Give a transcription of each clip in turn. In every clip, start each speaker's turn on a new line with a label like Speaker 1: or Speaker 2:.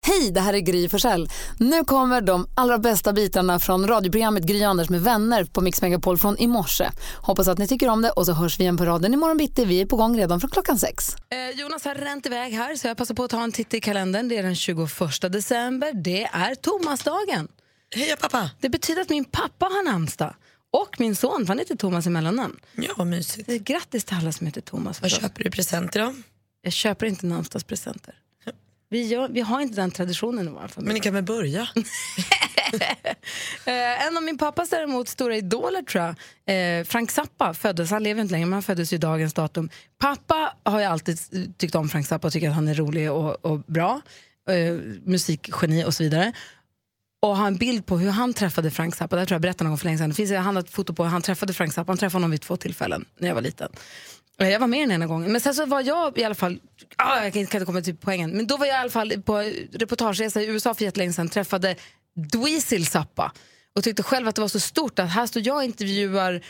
Speaker 1: Hej, det här är Gry Forssell. Nu kommer de allra bästa bitarna från radioprogrammet Gry Anders med vänner på Mix Megapol från i morse. Hoppas att ni tycker om det och så hörs vi igen på raden imorgon bitti. Vi är på gång redan från klockan sex.
Speaker 2: Eh, Jonas har ränt iväg här så jag passar på att ta en titt i kalendern. Det är den 21 december. Det är Tomasdagen.
Speaker 3: Hej pappa!
Speaker 2: Det betyder att min pappa har namnsdag. Och min son, för han heter Thomas i mellannamn.
Speaker 3: Ja, vad mysigt.
Speaker 2: Eh, Grattis till alla som heter Thomas.
Speaker 3: Vad
Speaker 2: förstås.
Speaker 3: köper du i presenter då?
Speaker 2: Jag köper inte namnsdagspresenter. Vi, gör, vi har inte den traditionen i vår familj.
Speaker 3: Men ni kan väl börja?
Speaker 2: Eh, en av min pappas däremot stora idoler tror jag, eh, Frank Zappa, föddes, han lever inte längre men han föddes ju i dagens datum. Pappa har ju alltid eh, tyckt om Frank Zappa och tycker att han är rolig och, och bra, eh, musikgeni och så vidare. Och har en bild på hur han träffade Frank Zappa, det här tror jag berättade någon gång för länge sedan. Det finns, han har ett foto på hur han träffade Frank Zappa, han träffade honom vid två tillfällen när jag var liten. Eh, Jag var med den ena gången, men sen så var jag i alla fall, ah, jag kan inte kan inte komma till poängen, men då var jag i alla fall på reportageresa i USA för jättelänge sedan, träffade Dweezil Zappa och tyckte själv att det var så stort att här står jag och intervjuar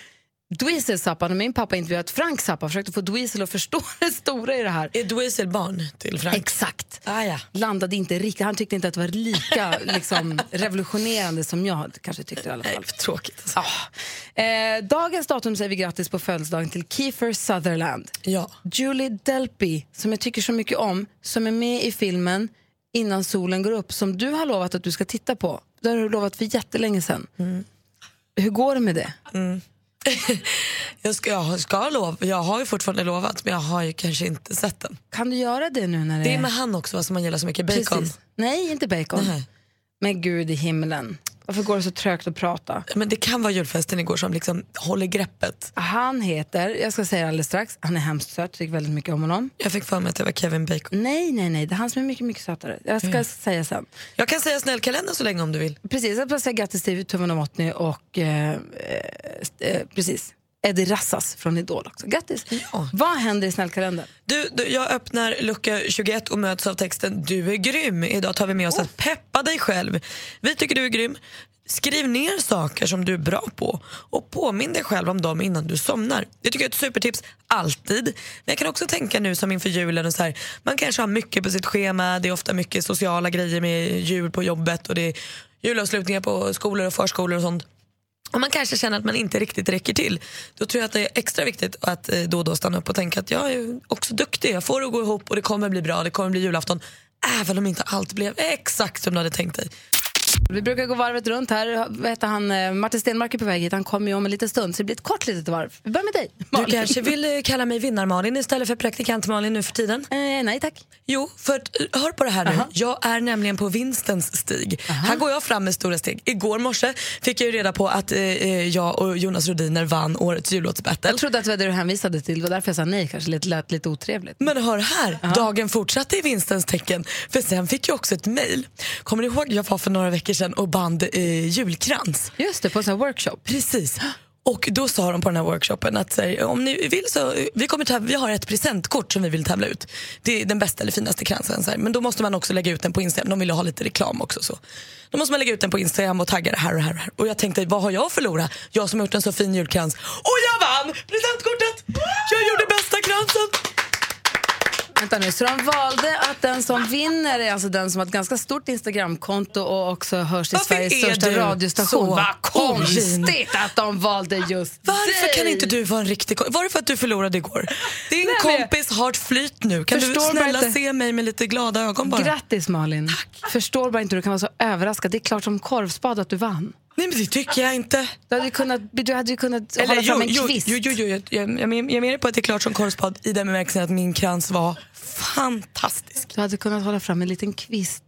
Speaker 2: Dweezil Zappa när min pappa intervjuat Frank Zappa, försökte få Dweezil att förstå det stora i det här.
Speaker 3: Är Dweezil barn till Frank?
Speaker 2: Exakt.
Speaker 3: ah, ja.
Speaker 2: Landade inte riktigt, han tyckte inte att det var lika liksom, revolutionerande som jag kanske tyckte i alla
Speaker 3: Nej,
Speaker 2: fall.
Speaker 3: för tråkigt. Alltså.
Speaker 2: Ah. Eh, dagens datum säger vi grattis på födelsedagen till Kiefer Sutherland.
Speaker 3: Ja.
Speaker 2: Julie Delpy, som jag tycker så mycket om, som är med i filmen Innan solen går upp, som du har lovat att du ska titta på. Det har du lovat för jättelänge sedan.
Speaker 3: Mm.
Speaker 2: Hur går det med det?
Speaker 3: Jag, ska, jag, ska lov, jag har ju fortfarande lovat, men jag har ju kanske inte sett den.
Speaker 2: Kan du göra det nu när det,
Speaker 3: Det är med han också, va, som man gillar så mycket.
Speaker 2: Precis.
Speaker 3: Bacon.
Speaker 2: Nej, inte bacon.
Speaker 3: Nej.
Speaker 2: Men gud i himlen, varför går det så trögt att prata?
Speaker 3: Men det kan vara julfesten igår som liksom håller greppet.
Speaker 2: Han heter, jag ska säga det alldeles strax, han är hemskt söt, tycker väldigt mycket om honom.
Speaker 3: Jag fick för mig att det var Kevin Bacon.
Speaker 2: Nej, nej, nej, det är han som är mycket, mycket sötare. Jag ska säga sen.
Speaker 3: Jag kan säga snällkalendern så länge om du vill.
Speaker 2: Precis, jag vill säga grattis till Tuvan Novotny och eh, eh, eh, precis, Eddie Rassas från Idol också. Grattis!
Speaker 3: Ja.
Speaker 2: Vad händer i snällkalendern?
Speaker 3: Du, du, jag öppnar lucka 21 och möts av texten Du är grym. Idag tar vi med oss att peppa dig själv. Vi tycker du är grym. Skriv ner saker som du är bra på och påminn dig själv om dem innan du somnar. Det tycker jag är ett supertips, alltid. Men jag kan också tänka nu som inför julen, och så här, man kanske har mycket på sitt schema, det är ofta mycket sociala grejer med jul på jobbet och det är julavslutningar på skolor och förskolor och sånt och man kanske känner att man inte riktigt räcker till, då tror jag att det är extra viktigt att eh, då och då stanna upp och tänka att jag är ju också duktig, jag får det att gå ihop och det kommer bli bra, det kommer bli julafton. Även om inte allt blev exakt som du hade tänkt dig.
Speaker 2: Vi brukar gå varvet runt här. Vad heter han? Eh, Martin Stenmark är på väg hit, han kommer ju om en liten stund så det blir ett kort litet varv. Vi börjar med dig,
Speaker 3: Du
Speaker 2: Malin.
Speaker 3: kanske vill eh, kalla mig vinnar-Malin istället för praktikant-Malin nu för tiden?
Speaker 2: eh, nej tack.
Speaker 3: Jo, för att, eh, hör på det här nu. Jag är nämligen på vinstens stig. Här går jag fram med stora steg. Igår morse fick jag ju reda på att eh, eh, jag och Jonas Rhodiner vann årets jullåtsbattle.
Speaker 2: Jag trodde att det var det du hänvisade till, det var därför jag sa nej kanske, lät, lät lite otrevligt.
Speaker 3: Men hör här, dagen fortsatte i vinstens tecken. För sen fick jag också ett mejl. Kommer ni ihåg, jag var för några veckor sedan och band eh, julkrans.
Speaker 2: Just det, på en sån här workshop.
Speaker 3: Precis. Och då sa de på den här workshopen att så här, om ni vill så, eh, vi, kommer täv- vi har ett presentkort som vi vill tävla ut. Det är den bästa eller finaste kransen. Så här. Men då måste man också lägga ut den på Instagram. De vill ju ha lite reklam också. Så. Då måste man lägga ut den på Instagram och tagga det här och det här och det här. Och jag tänkte, vad har jag att förlora? Jag som har gjort en så fin julkrans. Och jag vann presentkortet! Jag gjorde bästa kransen!
Speaker 2: Vänta nu, så de valde att den som vinner är alltså den som har ett ganska stort Instagramkonto och också hörs i
Speaker 3: Varför
Speaker 2: Sveriges
Speaker 3: är
Speaker 2: största
Speaker 3: du
Speaker 2: radiostation.
Speaker 3: så
Speaker 2: Vad
Speaker 3: ogin?
Speaker 2: konstigt att de valde just
Speaker 3: Varför
Speaker 2: dig.
Speaker 3: kan inte du vara en riktig kompis? Var det för att du förlorade igår? Din
Speaker 2: Nej, men-
Speaker 3: kompis har ett flyt nu. Kan
Speaker 2: Förstår
Speaker 3: du
Speaker 2: man
Speaker 3: snälla
Speaker 2: inte?
Speaker 3: se mig med lite glada ögon bara?
Speaker 2: Grattis Malin. Förstår bara inte hur du kan vara så överraskad. Det är klart som korvspad att du vann.
Speaker 3: Nej men det tycker jag inte.
Speaker 2: Du hade ju kunnat, du hade ju kunnat hålla fram
Speaker 3: jo,
Speaker 2: en
Speaker 3: jo,
Speaker 2: kvist.
Speaker 3: jo, jo, jo, jag, jag, jag men- jag menar på att det är klart som korvspad i den bemärkelsen att min krans var fantastisk.
Speaker 2: Du hade kunnat hålla fram en liten kvist.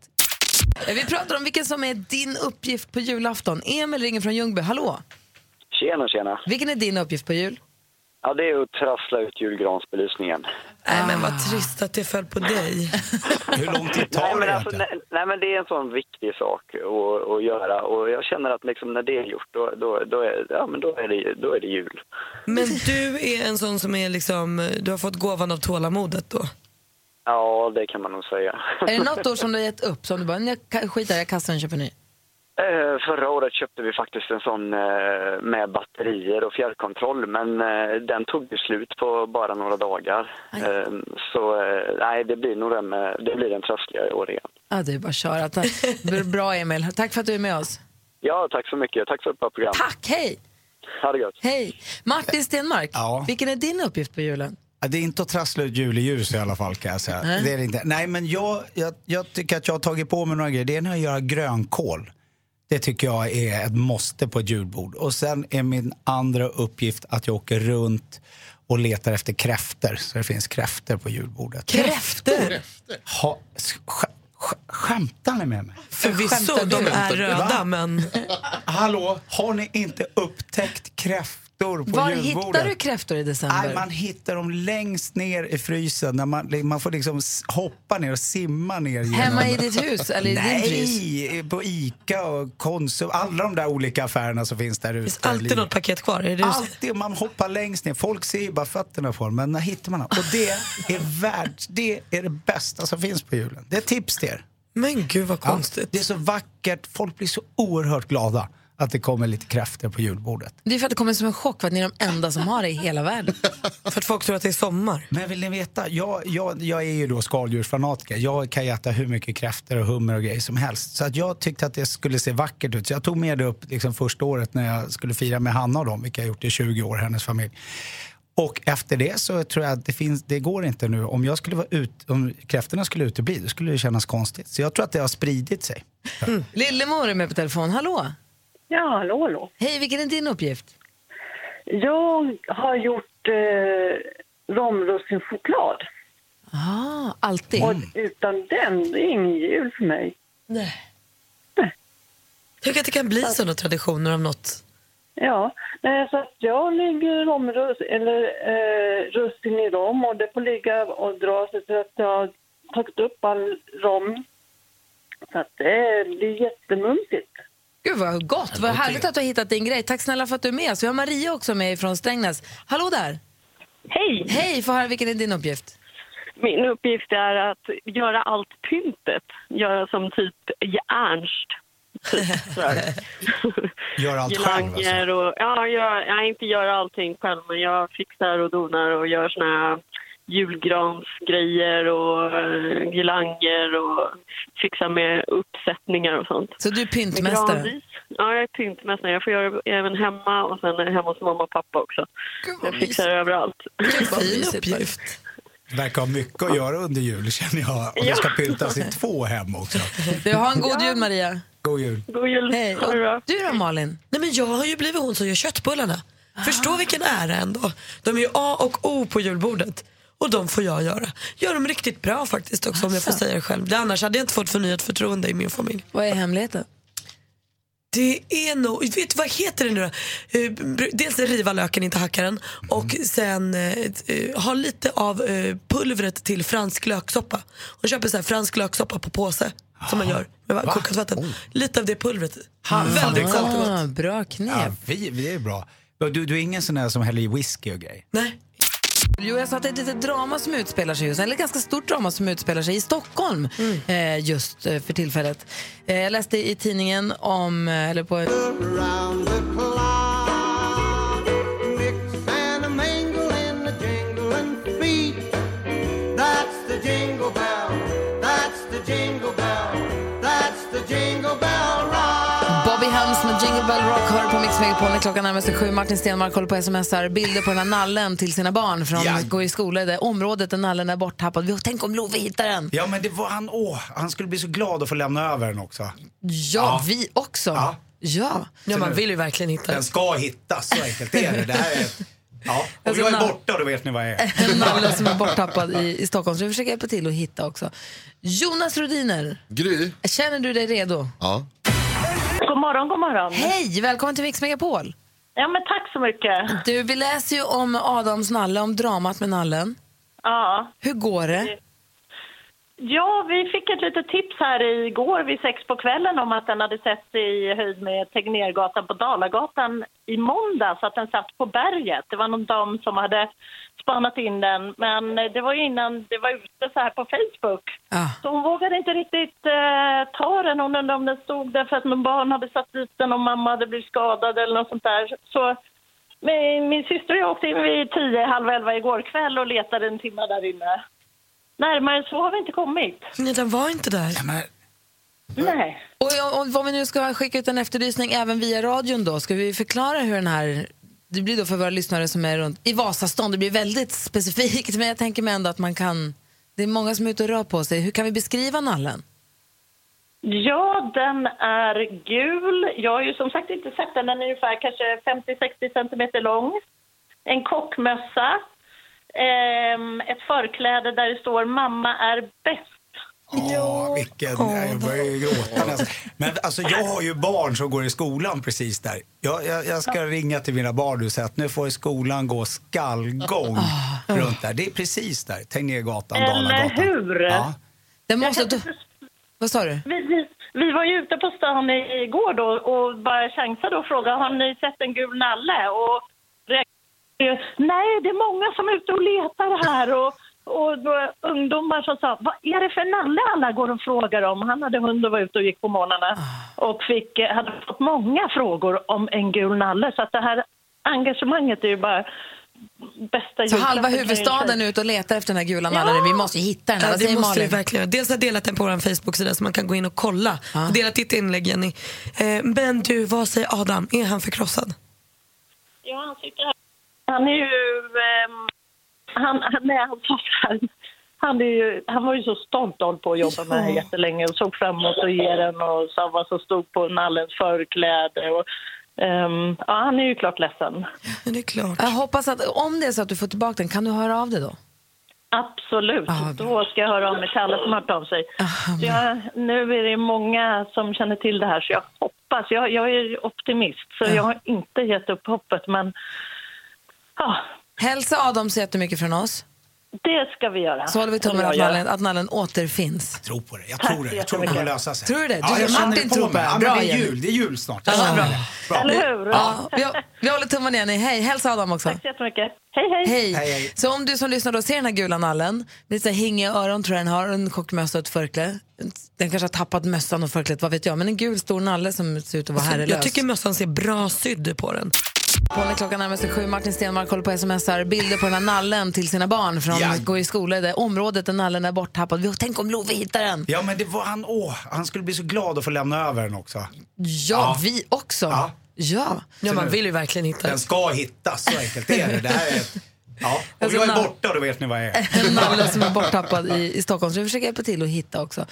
Speaker 2: Eh, Vi pratar om vilken som är din uppgift på julafton. Emil ringer från Ljungby. Hallå!
Speaker 4: Tjena, tjena.
Speaker 2: Vilken är din uppgift på jul?
Speaker 4: Ja, det är ju att trassla ut julgransbelysningen.
Speaker 3: Nej men vad trist att det föll på dig.
Speaker 5: Hur lång tid
Speaker 4: Nej
Speaker 5: tar
Speaker 4: men,
Speaker 5: det
Speaker 4: alltså,
Speaker 5: egentligen?
Speaker 4: nej, nej, men det är en sån viktig sak att, att göra. Och jag känner att liksom när det är gjort, då, då, då, är, ja, men då, är, det, då är det jul.
Speaker 3: Men du är en sån som är liksom, du har fått gåvan av tålamodet då.
Speaker 4: Ja, det kan man nog säga.
Speaker 2: Ah. Är det något år som du har gett upp? Som du bara, "Nej, jag ka- skiter i, jag kastar den och köper en ny.
Speaker 4: Eh, Förra året köpte vi faktiskt en sån eh, med batterier och fjärrkontroll, men eh, den tog ju slut på bara eh, några dagar. Eh, Så eh, nej, det blir nog den, med- det blir den trassliga i år igen.
Speaker 2: Ja, det är bara att köra. Ta- Bra, Emil. Tack för att du är med oss.
Speaker 4: Ja, tack så mycket. Tack för ett bra program.
Speaker 2: Tack, hej!
Speaker 4: Ha det gött.
Speaker 2: Hej! Martin Stenmark,
Speaker 5: Ja.
Speaker 2: vilken är din uppgift på julen?
Speaker 5: Ja, Det är inte att trassla ut juleljus i alla fall kan jag säga. Det är det inte. Nej men jag, jag, jag tycker att jag har tagit på mig några grejer. Det är när jag gör grönkål. Det tycker jag är ett måste på ett julbord. Och sen är min andra uppgift att jag åker runt och letar efter kräfter. Så det finns kräfter på julbordet.
Speaker 2: Kräftor!
Speaker 5: Ha, sk, sk, sk, skämtar ni med mig?
Speaker 3: Förvisso, de är röda
Speaker 5: Va?
Speaker 3: men
Speaker 5: Hallå, har ni inte upptäckt kräftor på
Speaker 2: Var
Speaker 5: julbordet?
Speaker 2: hittar du kräftor i december?
Speaker 5: Nej, man hittar dem längst ner i frysen. När man, man får liksom s- hoppa ner och simma ner. Genom.
Speaker 2: Hemma i ditt hus eller i din frys?
Speaker 5: Nej, på Ica och Konsum. Alla de där olika affärerna som finns där ute.
Speaker 3: det är alltid något paket kvar. Är det
Speaker 5: Alltid, man hoppar längst ner. Folk ser ju bara fötterna på dem, men när hittar man dem? Och det är världs, det är det bästa som finns på julen. Det är ett tips till er.
Speaker 3: Men gud vad
Speaker 5: Ja,
Speaker 3: konstigt.
Speaker 5: det är så vackert, folk blir så oerhört glada att det kommer lite kräftor på julbordet.
Speaker 2: Det är för att det kommer som en chock för att ni är de enda som har det i hela världen.
Speaker 3: För att folk tror att det är sommar.
Speaker 5: Men vill ni veta? Jag, jag, jag är ju då skaldjursfanatiker. Jag kan ju äta hur mycket kräftor och hummer och grejer som helst. Så att jag tyckte att det skulle se vackert ut. Så jag tog med det upp liksom första året när jag skulle fira med Hanna och dem, vilket jag gjort i 20 år, hennes familj. Och efter det så tror jag att det, finns, det går inte nu. Om, jag skulle vara ut, om kräftorna skulle utebli, då skulle det kännas konstigt. Så jag tror att det har spridit sig.
Speaker 2: mm, Lillemor är med på telefon. Hallå!
Speaker 6: Ja, hallå, hallå.
Speaker 2: Hej, vilken är din uppgift?
Speaker 6: Jag har gjort eh, romrussinchoklad.
Speaker 2: Ah, alltid.
Speaker 6: Och utan den, det är ingen jul för mig.
Speaker 3: Tänk att det kan bli sådana traditioner om något.
Speaker 6: Ja, nej, så att jag lägger romrus, eller eh, russin i rom och det får ligga och dra sig så att jag har tagit upp all rom. Så att det blir jättemumsigt.
Speaker 2: Gud vad gott, vad härligt att du har hittat din grej. Tack snälla för att du är med oss. Vi har Maria också med från Strängnäs. Hallå där!
Speaker 7: Hej!
Speaker 2: Hej, få höra vilken är din uppgift?
Speaker 7: Min uppgift är att göra allt pyntet. Göra som typ Ernst. Typ, så här.
Speaker 5: Gör allt själv alltså.
Speaker 7: Girlanger och, ja, jag, jag inte gör allting själv men jag fixar och donar och gör såna här julgransgrejer och eh, girlanger och fixar med uppsättningar och sånt.
Speaker 2: Så du är
Speaker 7: Med
Speaker 2: pyntmästare.
Speaker 7: granris. Ja, jag är pyntmästare. Jag får göra det även hemma och sen hemma hos mamma och pappa också. Jag fixar överallt.
Speaker 2: Vad
Speaker 3: Fin
Speaker 2: mysigt.
Speaker 3: uppgift.
Speaker 5: Det verkar ha mycket att göra under jul känner jag. Och det ska pyntas i två hem också.
Speaker 2: Du, ha en god jul Maria.
Speaker 5: God jul.
Speaker 7: God jul!
Speaker 2: Hej.
Speaker 7: Ha det bra.
Speaker 2: Och Du då Malin?
Speaker 3: Nej men jag har ju blivit hon som gör köttbullarna.
Speaker 7: Ah.
Speaker 3: Förstå vilken ära ändå. De är ju A och O på julbordet. Och de får jag göra. Gör dem riktigt bra faktiskt också om jag får säga det själv. Det, annars hade jag inte fått förnyat förtroende i min familj.
Speaker 2: Vad är hemligheten?
Speaker 3: Det är nog, vet du vad heter det nu då? Eh, br- Dels riva löken, inte hacka den. Och
Speaker 7: Mm.
Speaker 3: sen eh, eh, ha lite av eh, pulvret till fransk löksoppa. Hon köper så här fransk löksoppa på påse som
Speaker 7: Ah.
Speaker 3: man gör med va-
Speaker 5: Va?
Speaker 3: kokat vatten.
Speaker 5: Oh.
Speaker 3: Lite av det pulvret.
Speaker 7: Mm.
Speaker 5: Mm.
Speaker 3: Väldigt salt och gott.
Speaker 2: Ah, bra knep.
Speaker 5: Ja, vi, vi är bra. Du, du är ingen sån där som häller i whisky och grejer?
Speaker 3: Nej.
Speaker 2: Jo, jag sa att det är ett litet drama som utspelar sig just nu, eller ett ganska stort drama som utspelar sig i Stockholm eh, just eh, för tillfället. Eh, jag läste i tidningen om, eh, eller på... Bobby Helms med Jingle Bell Rock hör på Mix Megapol när klockan närmar sig sju. Martin Stenmark håller på och smsar bilder på den här nallen till sina barn från
Speaker 5: Ja.
Speaker 2: går i skola i det området där nallen är borttappad. Vi- Tänk om Love hittar den!
Speaker 5: Ja, men det var han. Åh, han skulle bli så glad att få lämna över den också.
Speaker 2: Ja, vi också!
Speaker 5: Ja.
Speaker 2: Ja.
Speaker 3: Ja, man vill ju verkligen hitta
Speaker 5: Den
Speaker 3: det.
Speaker 5: ska hittas, så enkelt är det. det här är, ja. Om
Speaker 2: Alltså,
Speaker 5: jag är
Speaker 2: när-
Speaker 5: borta, då vet ni vad jag är.
Speaker 2: En nalle som är borttappad i, i Stockholm. Så vi försöker hjälpa till att hitta också. Jonas Rhodiner,
Speaker 8: Gry?
Speaker 2: känner du dig redo?
Speaker 8: Ja.
Speaker 7: God morgon, god morgon.
Speaker 2: Hej, välkommen till Mix Megapol.
Speaker 7: Ja, men tack så mycket.
Speaker 2: Du, vi läser ju om Adams nalle, om dramat med nallen.
Speaker 7: Ja.
Speaker 2: Hur går det?
Speaker 7: Ja, vi fick ett litet tips här igår vid sex på kvällen om att den hade sett i höjd med Tegnérgatan på Dalagatan i måndag så att den satt på berget. Det var någon dam som hade spanat in den, men det var ju innan det var ute så här på Facebook.
Speaker 2: Ah.
Speaker 7: Så hon vågade inte riktigt eh, ta den. Hon undrade om den stod där för att någon barn hade satt dit den och mamma hade blivit skadad eller något sånt där. Så min, min syster och jag åkte in vid tio, halv elva igår kväll och letade en timme där inne. Närmare så har vi inte kommit.
Speaker 3: Nej, den var inte där.
Speaker 5: Men,
Speaker 6: Nej.
Speaker 2: Och, och, och om vi nu ska skicka ut en efterlysning även via radion då, ska vi förklara hur den här... Det blir då för våra lyssnare som är runt i Vasastan, det blir väldigt specifikt, men jag tänker mig ändå att man kan... Det är många som är ute och rör på sig. Hur kan vi beskriva nallen?
Speaker 7: Ja, den är gul. Jag har ju som sagt inte sett den. Den är ungefär kanske 50-60 centimeter lång. En kockmössa. Ehm, ett förkläde där det står mamma är bäst.
Speaker 5: Åh, vilken... Jag börjar ju gråta nästan. Men alltså, jag har ju barn som går i skolan precis där. Jag, jag, jag ska ringa till mina barn och säga att nu får skolan gå skallgång
Speaker 2: Ah.
Speaker 5: runt där. Det är precis där, Tegnérgatan,
Speaker 7: Eller
Speaker 5: Dalagatan.
Speaker 7: hur?
Speaker 5: Ja.
Speaker 2: Den
Speaker 7: Jag
Speaker 2: måste...
Speaker 7: kan
Speaker 2: Du,
Speaker 7: inte
Speaker 2: vad sa du?
Speaker 7: Vi, vi- vi var ju ute på stan i- igår då och bara chansade och frågade har ni sett en gul nalle? Och reagerade, Nej, det är många som är ute och letar här. Och, och då, ungdomar som sa, vad är det för nalle alla går och frågar om? Han hade hund och var ute och gick på morgnarna
Speaker 2: Ah.
Speaker 7: och fick, eh, hade fått många frågor om en gul nalle. Så att det här engagemanget är ju bara bästa
Speaker 2: Så
Speaker 7: julklappen kan jag
Speaker 2: halva
Speaker 7: säga.
Speaker 2: huvudstaden är ute och letar efter den här gula nallen.
Speaker 7: Ja.
Speaker 2: Vi måste ju hitta den.
Speaker 3: Ja,
Speaker 2: Vad
Speaker 3: det
Speaker 2: säger
Speaker 3: måste vi
Speaker 2: Malin?
Speaker 3: verkligen göra. Dels har jag delat den på vår Facebook-sida så man kan gå in och kolla.
Speaker 2: Ja.
Speaker 3: Och delat ditt inlägg Jenny. Eh, men du, vad säger Adam? Är han förkrossad?
Speaker 7: Ja, han sitter här. Han är ju... ehm, han, han, nej, han, sa så här. han, är ju, han var ju så stolt av att på att jobba med det här jättelänge och såg fram emot att ge den och sa vad som stod på nallens förkläde. Och, ehm, ja, han är ju klart ledsen.
Speaker 3: Ja, det är klart.
Speaker 2: Jag hoppas att om det är så att du får tillbaka den, kan du höra av dig då?
Speaker 7: Absolut.
Speaker 2: Ja, bra.
Speaker 7: Då ska jag höra av mig till alla som har hört av sig. Så jag, nu är det många som känner till det här, så jag hoppas. Jag, jag är optimist, så jag har inte gett upp hoppet. Men ja,
Speaker 2: Hälsa Adam så jättemycket från oss.
Speaker 7: det ska vi göra.
Speaker 2: Så håller vi tummen
Speaker 7: Som
Speaker 2: att
Speaker 7: jag gör.
Speaker 2: nallen, att nallen återfinns.
Speaker 5: Tror på det. Jag tror Oh, det. Jag tror det kommer lösa sig.
Speaker 2: Tror du det? Du,
Speaker 5: ja, jag
Speaker 2: Martin
Speaker 5: känner
Speaker 2: tror
Speaker 5: på
Speaker 2: på det.
Speaker 5: mig. Ja,
Speaker 2: Bra,
Speaker 5: men det är
Speaker 2: Jenny.
Speaker 5: jul. Det är julsnart. Jag känner det. Bra.
Speaker 7: Eller hur?
Speaker 2: Ja, vi, vi håller tummen igen. Hej, hälsa Adam också.
Speaker 7: Tack så jättemycket. Hej, hej.
Speaker 2: Hej.
Speaker 5: Hej, hej.
Speaker 2: Så om du som lyssnar då ser den här gula nallen, lite så här hingiga öron tror jag den har, en kockmössa och ett förkläde. Den kanske har tappat mössan och förklädet, vad vet jag. Men en gul stor nalle som ser ut att vara
Speaker 5: Alltså,
Speaker 2: herrelös.
Speaker 3: Alltså, jag tycker mössan ser bra sydd på den.
Speaker 2: På när klockan närmar sig sju, Martin Stenmark håller på och smsar bilder på den här nallen till sina barn från
Speaker 5: Ja.
Speaker 2: går i skola i det området där nallen är borttappad. Vi- Tänk om Love hittar den!
Speaker 5: Ja, men det var han. Åh, han skulle bli så glad att få lämna över den också.
Speaker 2: Ja, vi också! Ja.
Speaker 5: Ja.
Speaker 3: Ja, man vill ju verkligen hitta
Speaker 5: Den
Speaker 3: den.
Speaker 5: ska hittas, så enkelt är det. det här är ett... Ja, om
Speaker 2: Alltså,
Speaker 5: jag
Speaker 2: när-
Speaker 5: är borta då vet ni vad jag är.
Speaker 2: En nalle som är borttappad i, i Stockholm. Så vi försöker hjälpa till att hitta också.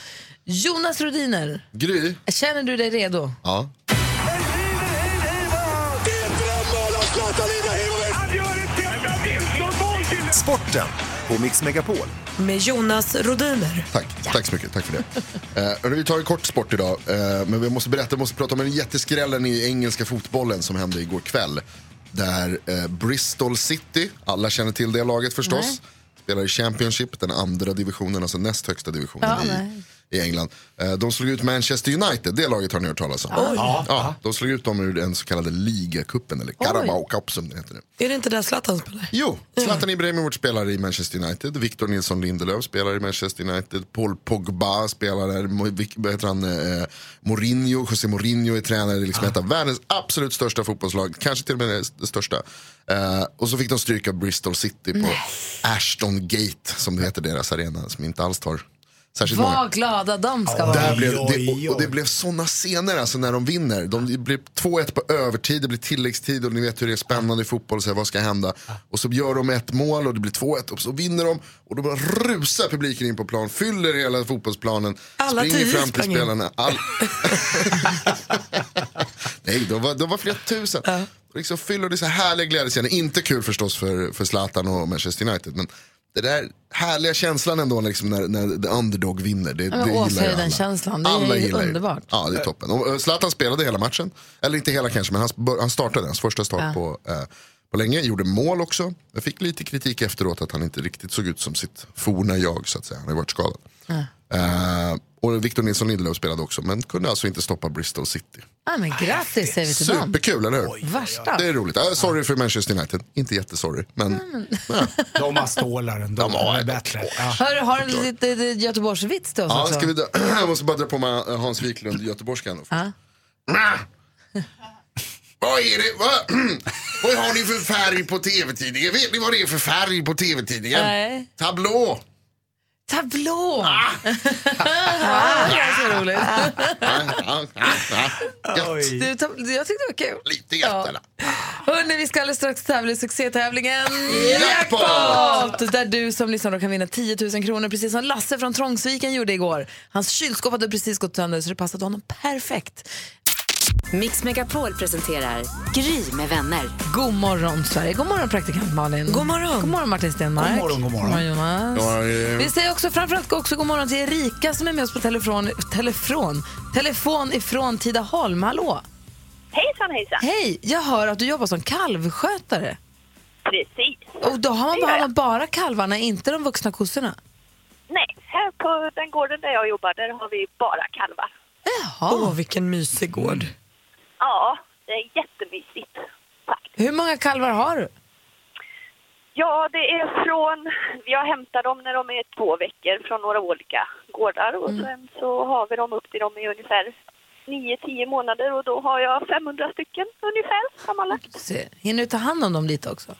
Speaker 2: Jonas Rhodiner,
Speaker 8: Gry?
Speaker 2: känner du dig redo?
Speaker 8: Ja.
Speaker 9: Sporten på Mix Megapol.
Speaker 3: Med Jonas Rodiner.
Speaker 8: Tack. Tack så mycket. Tack för det. Eh, hörru, vi tar en kort sport idag. Eh, men vi måste berätta, vi måste prata om den jätteskrällen i engelska fotbollen som hände igår kväll. Där eh, Bristol City, alla känner till det laget förstås, spelar i Championship, den andra divisionen, alltså näst högsta divisionen
Speaker 2: Ja, nej.
Speaker 8: i, i England. Eh, de slog ut Manchester United, det laget har ni hört talas om. Ja. de slog ut dem ur den så kallade ligacupen, eller Carabao Cup som den heter nu.
Speaker 3: Är det inte där Zlatan spelar?
Speaker 8: Jo, Zlatan Ibrahimovic spelar i Manchester United. Victor Nilsson Lindelöf spelar i Manchester United. Paul Pogba spelar där. Mo- Vic- Vad heter han? Eh, Mourinho, José Mourinho är tränare. i Liksom ett av världens absolut största fotbollslag. Kanske till och med det största. Eh, och så fick de stryka Bristol City på Ashton Gate, som det heter deras arena, som inte alls tar särskilt många.
Speaker 2: Vad glada de ska
Speaker 5: Ja,
Speaker 8: Där
Speaker 5: Oj,
Speaker 2: vara.
Speaker 8: blev, det,
Speaker 5: oj,
Speaker 8: och, och det
Speaker 5: oj.
Speaker 8: blev sådana scener alltså när de vinner. De, det blir 2-1 på övertid, det blir tilläggstid och ni vet hur det är spännande i fotboll, så här, vad ska hända? Och så gör de ett mål och det blir 2-1 och så vinner de och då bara rusar publiken in på plan, fyller hela fotbollsplanen,
Speaker 3: Alla
Speaker 8: springer
Speaker 3: tio
Speaker 8: fram till
Speaker 3: sprang in.
Speaker 8: spelarna. All... Nej, de var, de var flera tusen. Och Liksom fyller det så här härliga glädjescener. Inte kul förstås för, för Zlatan och Manchester United, men det där härliga känslan ändå liksom när, när the underdog vinner. Det, det
Speaker 2: åh,
Speaker 8: gillar ju
Speaker 2: höjden
Speaker 8: alla.
Speaker 2: känslan. Det är
Speaker 8: Alla
Speaker 2: ju
Speaker 8: gillar
Speaker 2: underbart.
Speaker 8: Ja, det är toppen. Och eh, Zlatan spelade hela matchen. Eller inte hela kanske, men han, bör- han startade. Hans första start
Speaker 2: Ja.
Speaker 8: på, eh, på länge. Gjorde mål också. Jag fick lite kritik efteråt att han inte riktigt såg ut som sitt forna jag. så att säga. Han har ju varit skadad. Eh, och Victor Nilsson Lindelöf spelade också, men kunde alltså inte stoppa Bristol City.
Speaker 2: Ja, men grattis säger vi till dem.
Speaker 8: Superkul, eller hur?
Speaker 2: Värsta.
Speaker 8: Det är roligt. Eh, sorry för Manchester United. Inte jättesorry, men
Speaker 2: Mm.
Speaker 8: ja.
Speaker 5: De har stålar ändå.
Speaker 8: De
Speaker 5: De
Speaker 8: har
Speaker 5: är
Speaker 8: ett
Speaker 5: bättre. Ja.
Speaker 2: Hör, har du lite lite Göteborgsvits till oss
Speaker 8: Ja,
Speaker 2: också?
Speaker 8: ska vi dö- jag måste bara dra på mig äh, Hans Wiklund, göteborgskan. då.
Speaker 2: Ja.
Speaker 8: Mäh! Vad är det? Vad, vad har ni för färg på tv-tidningen? Vet ni vad det är för färg på tv-tidningen?
Speaker 2: Nej.
Speaker 8: Tablå.
Speaker 2: Tablå! Ah, det är så roligt.
Speaker 5: Oj.
Speaker 2: Du, tab- jag tyckte det var kul.
Speaker 10: Lite hjärtana.
Speaker 2: Hörni, vi ska alldeles strax tävla i succétävlingen
Speaker 10: Jackpot!
Speaker 2: Jackpot! Där du som lyssnar då kan vinna 10 000 kronor precis som Lasse från Trångsviken gjorde igår. Hans kylskåp hade precis gått sönder så det passade honom perfekt.
Speaker 11: Mix Megapol presenterar Gry med vänner.
Speaker 2: God morgon Sverige, god morgon praktikant Malin.
Speaker 3: God morgon.
Speaker 2: God morgon Martin Stenmark.
Speaker 5: God morgon, god morgon.
Speaker 2: Jonas.
Speaker 10: Ja, eh,
Speaker 12: Mm.
Speaker 2: Vi säger också framförallt också god morgon till Erika som är med oss på telefon, telefon, telefon ifrån Tidaholm. Hallå!
Speaker 13: Hejsan, hejsan.
Speaker 2: Hej! Jag hör att du jobbar som kalvskötare.
Speaker 13: Precis.
Speaker 2: Och då har man,
Speaker 13: Det gör
Speaker 2: bara, har
Speaker 13: jag.
Speaker 2: man bara kalvarna, inte de vuxna kossorna?
Speaker 13: Nej, här på den gården där jag jobbar, där har vi bara kalvar.
Speaker 2: Jaha.
Speaker 3: Åh, vilken mysig gård.
Speaker 13: Ja, det är jättemysigt. Tack.
Speaker 2: Hur många kalvar har du?
Speaker 13: Ja, det är från... Jag hämtar dem när de är två veckor från några olika gårdar och
Speaker 2: Mm.
Speaker 13: sen så har vi dem upp till dem i ungefär 9-10 månader och då har jag 500 stycken ungefär sammanlagt.
Speaker 2: Se, Hinner du ta hand om dem lite också?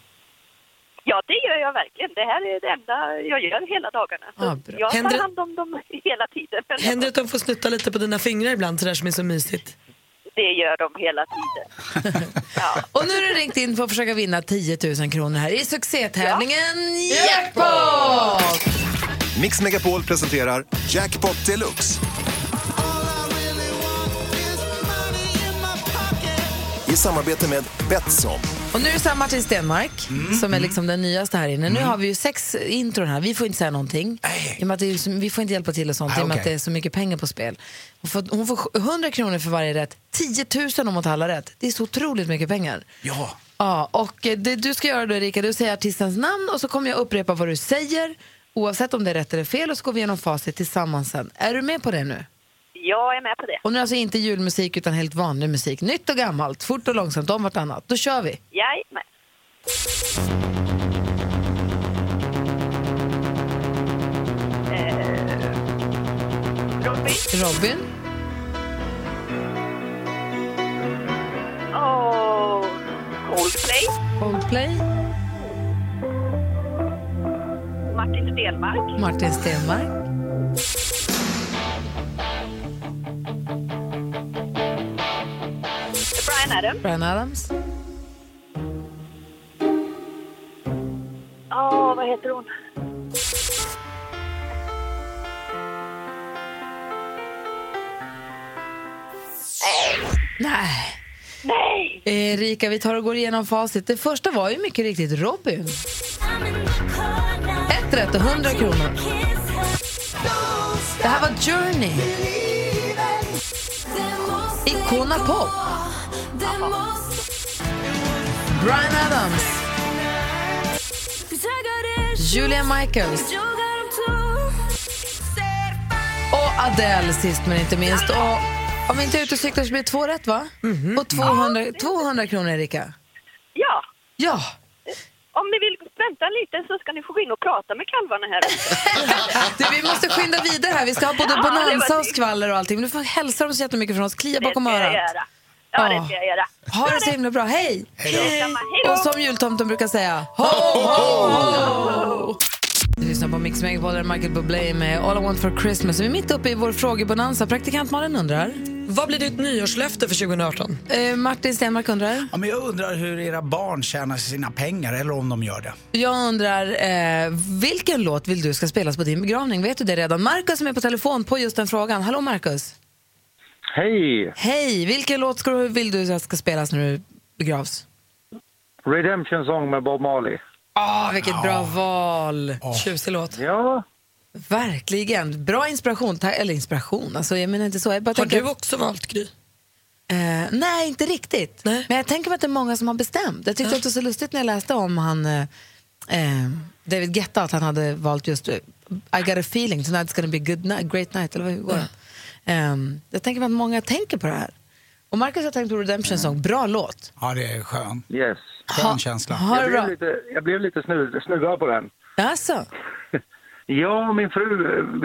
Speaker 13: Ja, det gör jag verkligen. Det här är det enda jag gör hela dagarna. Så
Speaker 2: Ja, bra.
Speaker 13: jag
Speaker 3: Händer det-
Speaker 13: tar hand om dem hela tiden. Men
Speaker 3: Händer det att de får snutta lite på dina fingrar ibland, sådär som är så mysigt?
Speaker 13: Det gör de hela tiden. ja.
Speaker 2: Och nu är du ringt in för att försöka vinna 10 000 kronor här i succétävlingen Jackpot!
Speaker 9: Mix Megapol presenterar Jackpot Deluxe. I samarbete med Betsson.
Speaker 2: Och nu är det så här Martin Stenmark
Speaker 5: Mm.
Speaker 2: som är liksom den nyaste här inne. Nu har vi ju sex intron här. Vi får inte säga någonting. I och med att det är, så- vi får inte hjälpa till och sånt
Speaker 5: Nej,
Speaker 2: i och med
Speaker 5: okej.
Speaker 2: att det är så mycket pengar på spel. Hon får, hon får 100 kronor för varje rätt. 10 000 om hon tar alla rätt. Det är så otroligt mycket pengar.
Speaker 5: Ja.
Speaker 2: Ja, och eh, det du ska göra då Erika, du säger artistens namn och så kommer jag upprepa vad du säger oavsett om det är rätt eller fel och så går vi igenom facit tillsammans sen. Är du med på det nu?
Speaker 13: Jag är med på det.
Speaker 2: Och nu är det alltså inte julmusik utan helt vanlig musik. Nytt och gammalt, fort och långsamt, om vartannat. Då kör vi!
Speaker 13: Jag är med. Eh, Robin?
Speaker 2: Robin,
Speaker 13: och Coldplay,
Speaker 2: Coldplay,
Speaker 13: Martin Stenmark,
Speaker 2: Martin Stenmark,
Speaker 13: Brian Adams.
Speaker 2: Bryan Adams,
Speaker 13: Ja, vad heter hon?
Speaker 2: Nej.
Speaker 13: Nej!
Speaker 2: Erika, vi tar och går igenom facit. Det första var ju mycket riktigt Robin. Ett rätt och 100 kronor. Det här var Journey. Icona Pop. Bryan Adams. Julia Michaels. Och Adele sist men inte minst. Och om vi inte är ute och cyklar så blir det två rätt va? Och 200, 200 kronor Erika.
Speaker 13: Mhm. Ja,
Speaker 2: Ja,
Speaker 13: om ni vill vänta lite så ska ni få gå in och prata med kalvarna här.
Speaker 2: du, vi måste skynda vidare här. Vi ska ha både
Speaker 13: Ja, det var
Speaker 2: bonanza och
Speaker 13: synd.
Speaker 2: skvaller och allting. Men du får hälsa dem så jättemycket från oss. Klia
Speaker 13: Det
Speaker 2: bakom
Speaker 13: ska jag
Speaker 2: örat.
Speaker 13: göra. Ja, det ska jag göra.
Speaker 2: Ha det så himla bra. Hej!
Speaker 13: Detsamma. Hej då!
Speaker 2: Och som jultomten brukar säga, ho, ho, ho! Du lyssnar på Mix Megapol, där Michael Bublé är med All I Want For Christmas. Vi är mitt uppe i vår frågebonanza. Praktikant Malin undrar.
Speaker 13: Mm.
Speaker 3: Vad blir ditt nyårslöfte för 2018?
Speaker 2: Eh, Martin Stenmark undrar.
Speaker 5: Ja, men jag undrar hur era barn tjänar sina pengar, eller om de gör det.
Speaker 2: Jag undrar, eh, vilken låt vill du ska spelas på din begravning? Vet du det redan? Markus som är på telefon på just den frågan. Hallå Markus.
Speaker 14: Hej!
Speaker 2: Hej, vilken låt ska du, vill du ska spelas när du begravs?
Speaker 14: Redemption Song med Bob Marley.
Speaker 3: Ah,
Speaker 2: Åh, Ah, vilket bra val!
Speaker 3: Tjusig låt.
Speaker 14: Ja,
Speaker 2: Verkligen. Bra inspiration. Ta- Eller inspiration, alltså, jag menar inte så. Jag bara
Speaker 3: Har
Speaker 2: tänker,
Speaker 3: du också valt Gry?
Speaker 2: eh, nej, inte riktigt.
Speaker 3: Nej.
Speaker 2: Men jag tänker mig att det är många som har bestämt. Jag tyckte att det var så lustigt när jag läste om han, eh, eh, David Guetta, att han hade valt just eh, I got a feeling, tonight's gonna be a good night, great night, eller vad hur går det? Ehm, jag tänker mig att många tänker på det här. Och Marcus har tänkt på
Speaker 15: Mm.
Speaker 2: Redemption Song, bra låt.
Speaker 5: Ja, det är skön.
Speaker 14: yes.
Speaker 5: Skön känsla.
Speaker 2: Ha det
Speaker 14: Jag blev
Speaker 2: bra.
Speaker 14: lite, jag blev lite snu, snuvad på den.
Speaker 2: Alltså,
Speaker 14: Jag och min fru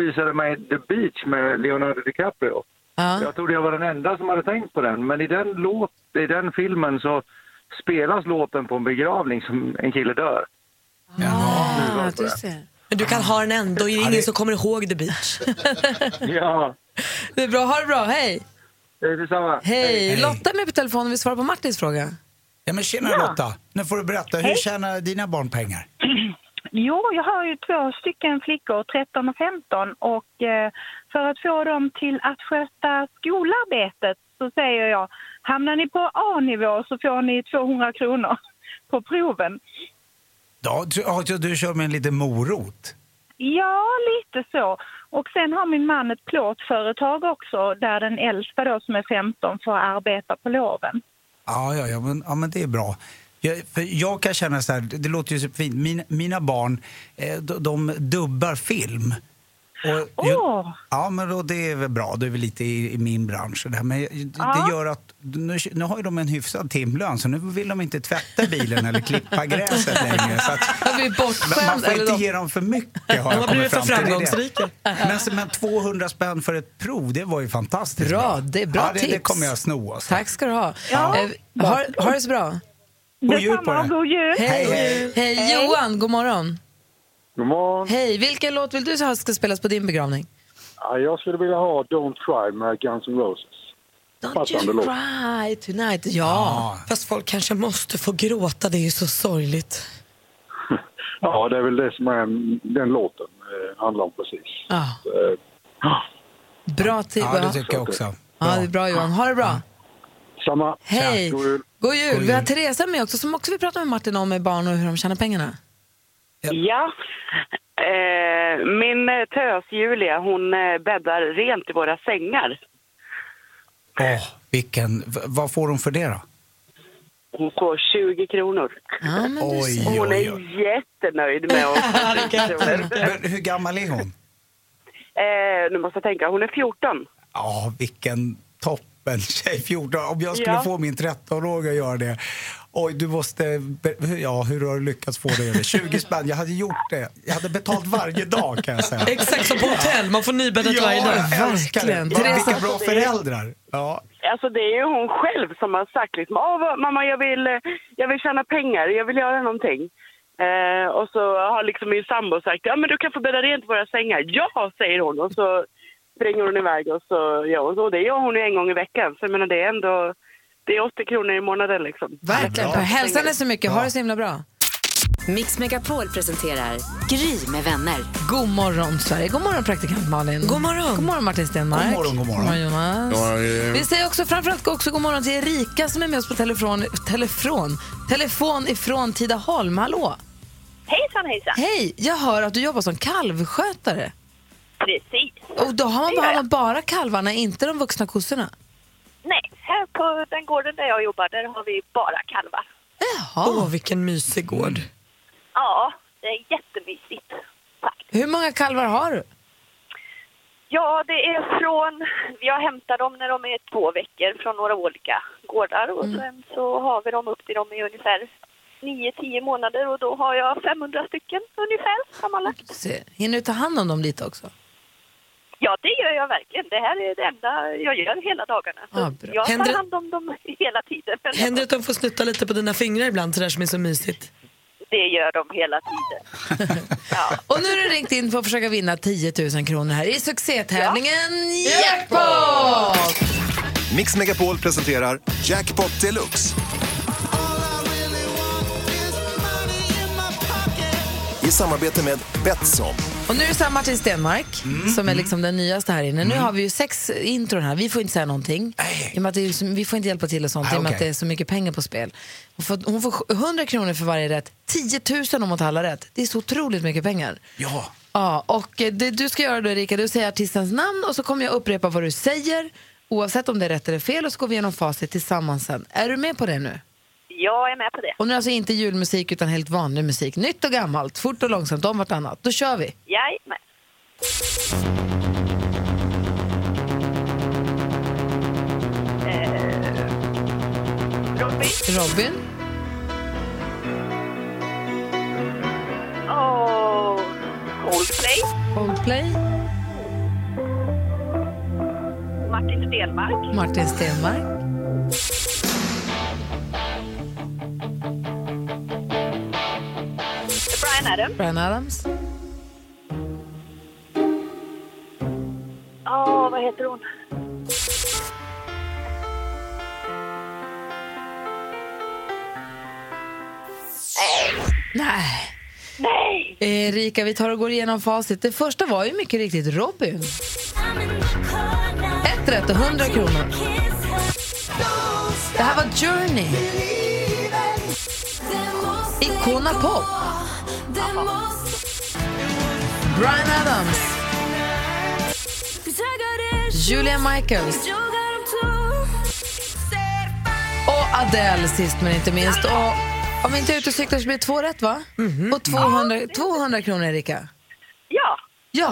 Speaker 14: visade mig The Beach med Leonardo DiCaprio.
Speaker 2: ja.
Speaker 14: Jag trodde jag var den enda som hade tänkt på den, men i den, låt, i den filmen så spelas låten på en begravning som en kille dör.
Speaker 2: Ah, du ser.
Speaker 3: Men du kan ha den ändå, det är ingen som kommer ihåg The Beach.
Speaker 14: Ja,
Speaker 2: Det är bra, ha det bra, hej!
Speaker 14: det är detsamma.
Speaker 2: Hej! Lotta är med på telefon och vill svara på Martins fråga.
Speaker 5: Ja, men tjena
Speaker 2: Ja.
Speaker 5: Lotta, nu får du berätta. Hur
Speaker 16: Hej.
Speaker 5: tjänar dina barn pengar?
Speaker 16: Jo, jag har ju två stycken flickor, 13 och 15. Och eh, för att få dem till att sköta skolarbetet så säger jag, hamnar ni på A-nivå så får ni 200 kronor på proven.
Speaker 5: Ja, du, ja, så du kör med en liten morot.
Speaker 16: Ja, lite så. Och sen har min man ett plåtföretag också där den äldsta då som är 15 får arbeta på loven.
Speaker 5: Ja, ja, ja, men, ja men det är bra. Jag, för jag kan känna så här, det det låter ju så fint. Min, mina barn, eh, de, de dubbar film. Och, ju- ja, men då, det är väl bra. Det är väl lite i, i min bransch. och Det här. Men jag- det,
Speaker 16: Ja.
Speaker 5: det gör att nu, nu har ju de en hyfsad timlön så nu vill de inte tvätta bilen eller klippa gräset längre. Så att,
Speaker 2: Vi är
Speaker 5: Men man
Speaker 2: bortskämda.
Speaker 5: får
Speaker 2: eller
Speaker 5: inte
Speaker 2: de-
Speaker 5: ge dem för mycket har
Speaker 2: De
Speaker 5: jag
Speaker 2: har
Speaker 5: kommit
Speaker 2: blivit
Speaker 5: fram
Speaker 2: för
Speaker 5: till. Det är det.
Speaker 2: framgångsrika.
Speaker 5: Men, alltså, men 200 spänn för ett prov, det var ju fantastiskt
Speaker 2: Bra, det är bra
Speaker 5: ja, det, Det
Speaker 2: tips.
Speaker 5: kommer jag sno. Alltså.
Speaker 2: Tack ska du ha.
Speaker 5: Ja.
Speaker 2: Eh, ha, ha det så bra.
Speaker 5: God jul på dig.
Speaker 2: Hej,
Speaker 5: hej.
Speaker 2: hej. hej Johan, god morgon.
Speaker 15: God morgon.
Speaker 2: Hej, vilken låt vill du ha ska spelas på din begravning?
Speaker 15: Ja, jag skulle vilja ha Don't Cry med Guns N' Roses. Passande låt.
Speaker 2: Cry tonight, ja.
Speaker 3: Ah. Fast folk kanske måste få gråta, det är ju så sorgligt.
Speaker 15: Ja, det är väl det som är den låten eh, handlar om precis.
Speaker 2: Ah,
Speaker 15: Eh,
Speaker 2: bra tips.
Speaker 15: Ja, det tycker jag också.
Speaker 2: Typ, Ja, det är bra Johan. Ha det
Speaker 5: Mm.
Speaker 2: bra.
Speaker 15: samma.
Speaker 2: Hej.
Speaker 15: God jul.
Speaker 2: God jul. Vi har Teresa med också som också vill prata med Martin om med barn och hur de tjänar pengarna.
Speaker 17: Ja. Eh, min eh, tös Julia, hon eh, bäddar rent i våra sängar.
Speaker 5: Åh, vilken, v- vad får de för det då?
Speaker 17: Hon får 20 kronor.
Speaker 5: oj,
Speaker 17: Och hon
Speaker 5: oj,
Speaker 17: är
Speaker 5: oj.
Speaker 17: jättenöjd med oss.
Speaker 5: Men hur gammal är hon?
Speaker 17: eh, nu måste jag tänka, hon är 14.
Speaker 5: Ja, vilken toppen tjej, 14. Om jag skulle
Speaker 17: Ja.
Speaker 5: få min 13-åring att göra det. Oj, du måste... be- Ja, hur har du lyckats få det? över? 20 spänn, jag hade gjort det. Jag hade betalt varje dag kan jag säga.
Speaker 3: Exakt som på hotell, man får nybäddat
Speaker 5: Ja,
Speaker 3: varje dag.
Speaker 5: jag älskar det. Va, vilka bra föräldrar. Ja.
Speaker 17: Alltså det är ju hon själv som har sagt liksom, Åh, vad- mamma jag vill, eh, jag vill tjäna pengar, jag vill göra någonting. Eh, och så har liksom min sambo sagt, ja men du kan få bädda rent våra sängar. Ja, säger hon och så springer hon iväg och så gör hon så. Och Det gör hon ju en gång i veckan, så jag menar det är ändå, det är 80 kronor i månaden liksom.
Speaker 2: Verkligen. Hälsa henne så mycket. Ha det så himla bra.
Speaker 11: Mix Megapol presenterar Gry med vänner.
Speaker 2: God morgon Sverige. God morgon praktikant Malin. God morgon. God morgon Martin Stenmark.
Speaker 11: God morgon, god morgon.
Speaker 2: Jonas.
Speaker 11: Ja, eh.
Speaker 2: Vi säger också framförallt också god morgon till Erika som är med oss på telefon, telefon, telefon ifrån Tidaholm. Hallå.
Speaker 13: Hejsan, hejsan.
Speaker 2: Hej, jag hör att du jobbar som kalvskötare.
Speaker 13: Precis.
Speaker 2: Och då har man,
Speaker 13: Det gör
Speaker 2: bara, har
Speaker 13: jag.
Speaker 2: man bara kalvarna, inte de vuxna kossorna.
Speaker 13: Nej, här på den gården där jag jobbar, där har vi bara kalvar.
Speaker 2: Jaha. Mm. Åh, vilken mysig gård.
Speaker 13: Ja, det är jättemysigt.
Speaker 2: Hur många kalvar har du?
Speaker 13: Ja, det är från... Jag hämtar dem när de är två veckor från några olika gårdar och
Speaker 3: Mm.
Speaker 13: sen så har vi dem upp till dem i ungefär 9-10 månader och då har jag 500 stycken ungefär sammanlagt.
Speaker 2: Se, Hinner du ta hand om dem lite också?
Speaker 13: Ja, det gör jag verkligen. Det här är det enda jag gör hela dagarna. Så
Speaker 3: Ja, bra.
Speaker 13: jag
Speaker 3: Händer
Speaker 13: tar
Speaker 3: det-
Speaker 13: hand om dem hela tiden.
Speaker 3: Händer det att de får snutta lite på dina fingrar ibland, sådär som är så mysigt?
Speaker 13: Det gör de hela tiden.
Speaker 2: Och nu har du ringt in för att försöka vinna 10 000 kronor här i succétävlingen Jackpot!
Speaker 9: Mix Megapol presenterar Jackpot Deluxe. I samarbete med Betsson.
Speaker 2: Och nu är det så här Martin Stenmark
Speaker 11: Mm.
Speaker 2: som är liksom den nyaste här inne. Nu har vi ju sex intron här. Vi får inte säga någonting. I och med att det är, så- vi får inte hjälpa till och sånt
Speaker 11: Nej,
Speaker 2: i och med att
Speaker 11: okej.
Speaker 2: det är så mycket pengar på spel. Hon får, hon får 100 kronor för varje rätt. 10 000 om hon tar alla rätt. Det är så otroligt mycket pengar.
Speaker 5: Ja.
Speaker 2: Ja, och eh, det du ska göra då Erika, du säger artistens namn och så kommer jag upprepa vad du säger oavsett om det är rätt eller fel och så går vi igenom facit tillsammans sen. Är du med på det nu?
Speaker 13: Jag är med på det.
Speaker 2: Och nu är det alltså inte julmusik utan helt vanlig musik. Nytt och gammalt, fort och långsamt, om vartannat. Då kör vi!
Speaker 13: Jajamän. Robin.
Speaker 2: Robin.
Speaker 13: Och Coldplay.
Speaker 2: Coldplay.
Speaker 13: Martin Stenmark.
Speaker 2: Martin Stenmark.
Speaker 13: Brian Adams.
Speaker 2: Bryan Adams.
Speaker 13: vad heter hon?
Speaker 2: Nej. Nej. Erika, vi tar och går igenom facit. Det första var ju mycket riktigt Robin. Ett rätt och 100 kronor. Det här var Journey. Icona Pop. Bryan Adams. Julia Michaels. Och Adele sist men inte minst. Och om vi inte är ute och cyklar så blir det två rätt va? Och 200, 200 kronor Erika.
Speaker 13: Mhm. Ja,
Speaker 2: Ja,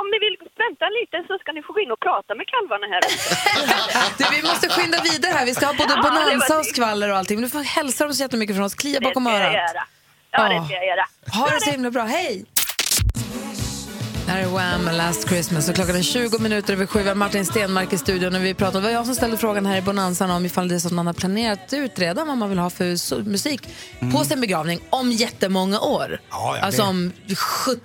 Speaker 13: om ni vill vänta lite så ska ni få gå in och prata med kalvarna här.
Speaker 2: du, vi måste skynda vidare här. Vi ska ha både
Speaker 13: Ja, det var
Speaker 2: bonanza och
Speaker 13: synd.
Speaker 2: skvaller och allting. Men du får hälsa dem så jättemycket från oss. Klia bakom
Speaker 13: Det ska jag
Speaker 2: örat.
Speaker 13: göra. Ja, det ska jag göra.
Speaker 2: Ha det så himla bra. Hej! Det här är Wham! Last Christmas och klockan är 20 minuter över sju. Vi har Martin Stenmark i studion och vi pratar. Det var jag som ställde frågan här i Bonanzan om ifall det är så att man har planerat ut redan vad man vill ha för so- musik på sin begravning om jättemånga år.
Speaker 5: Mm. Ja, ja,
Speaker 2: alltså
Speaker 5: det-
Speaker 2: om 70,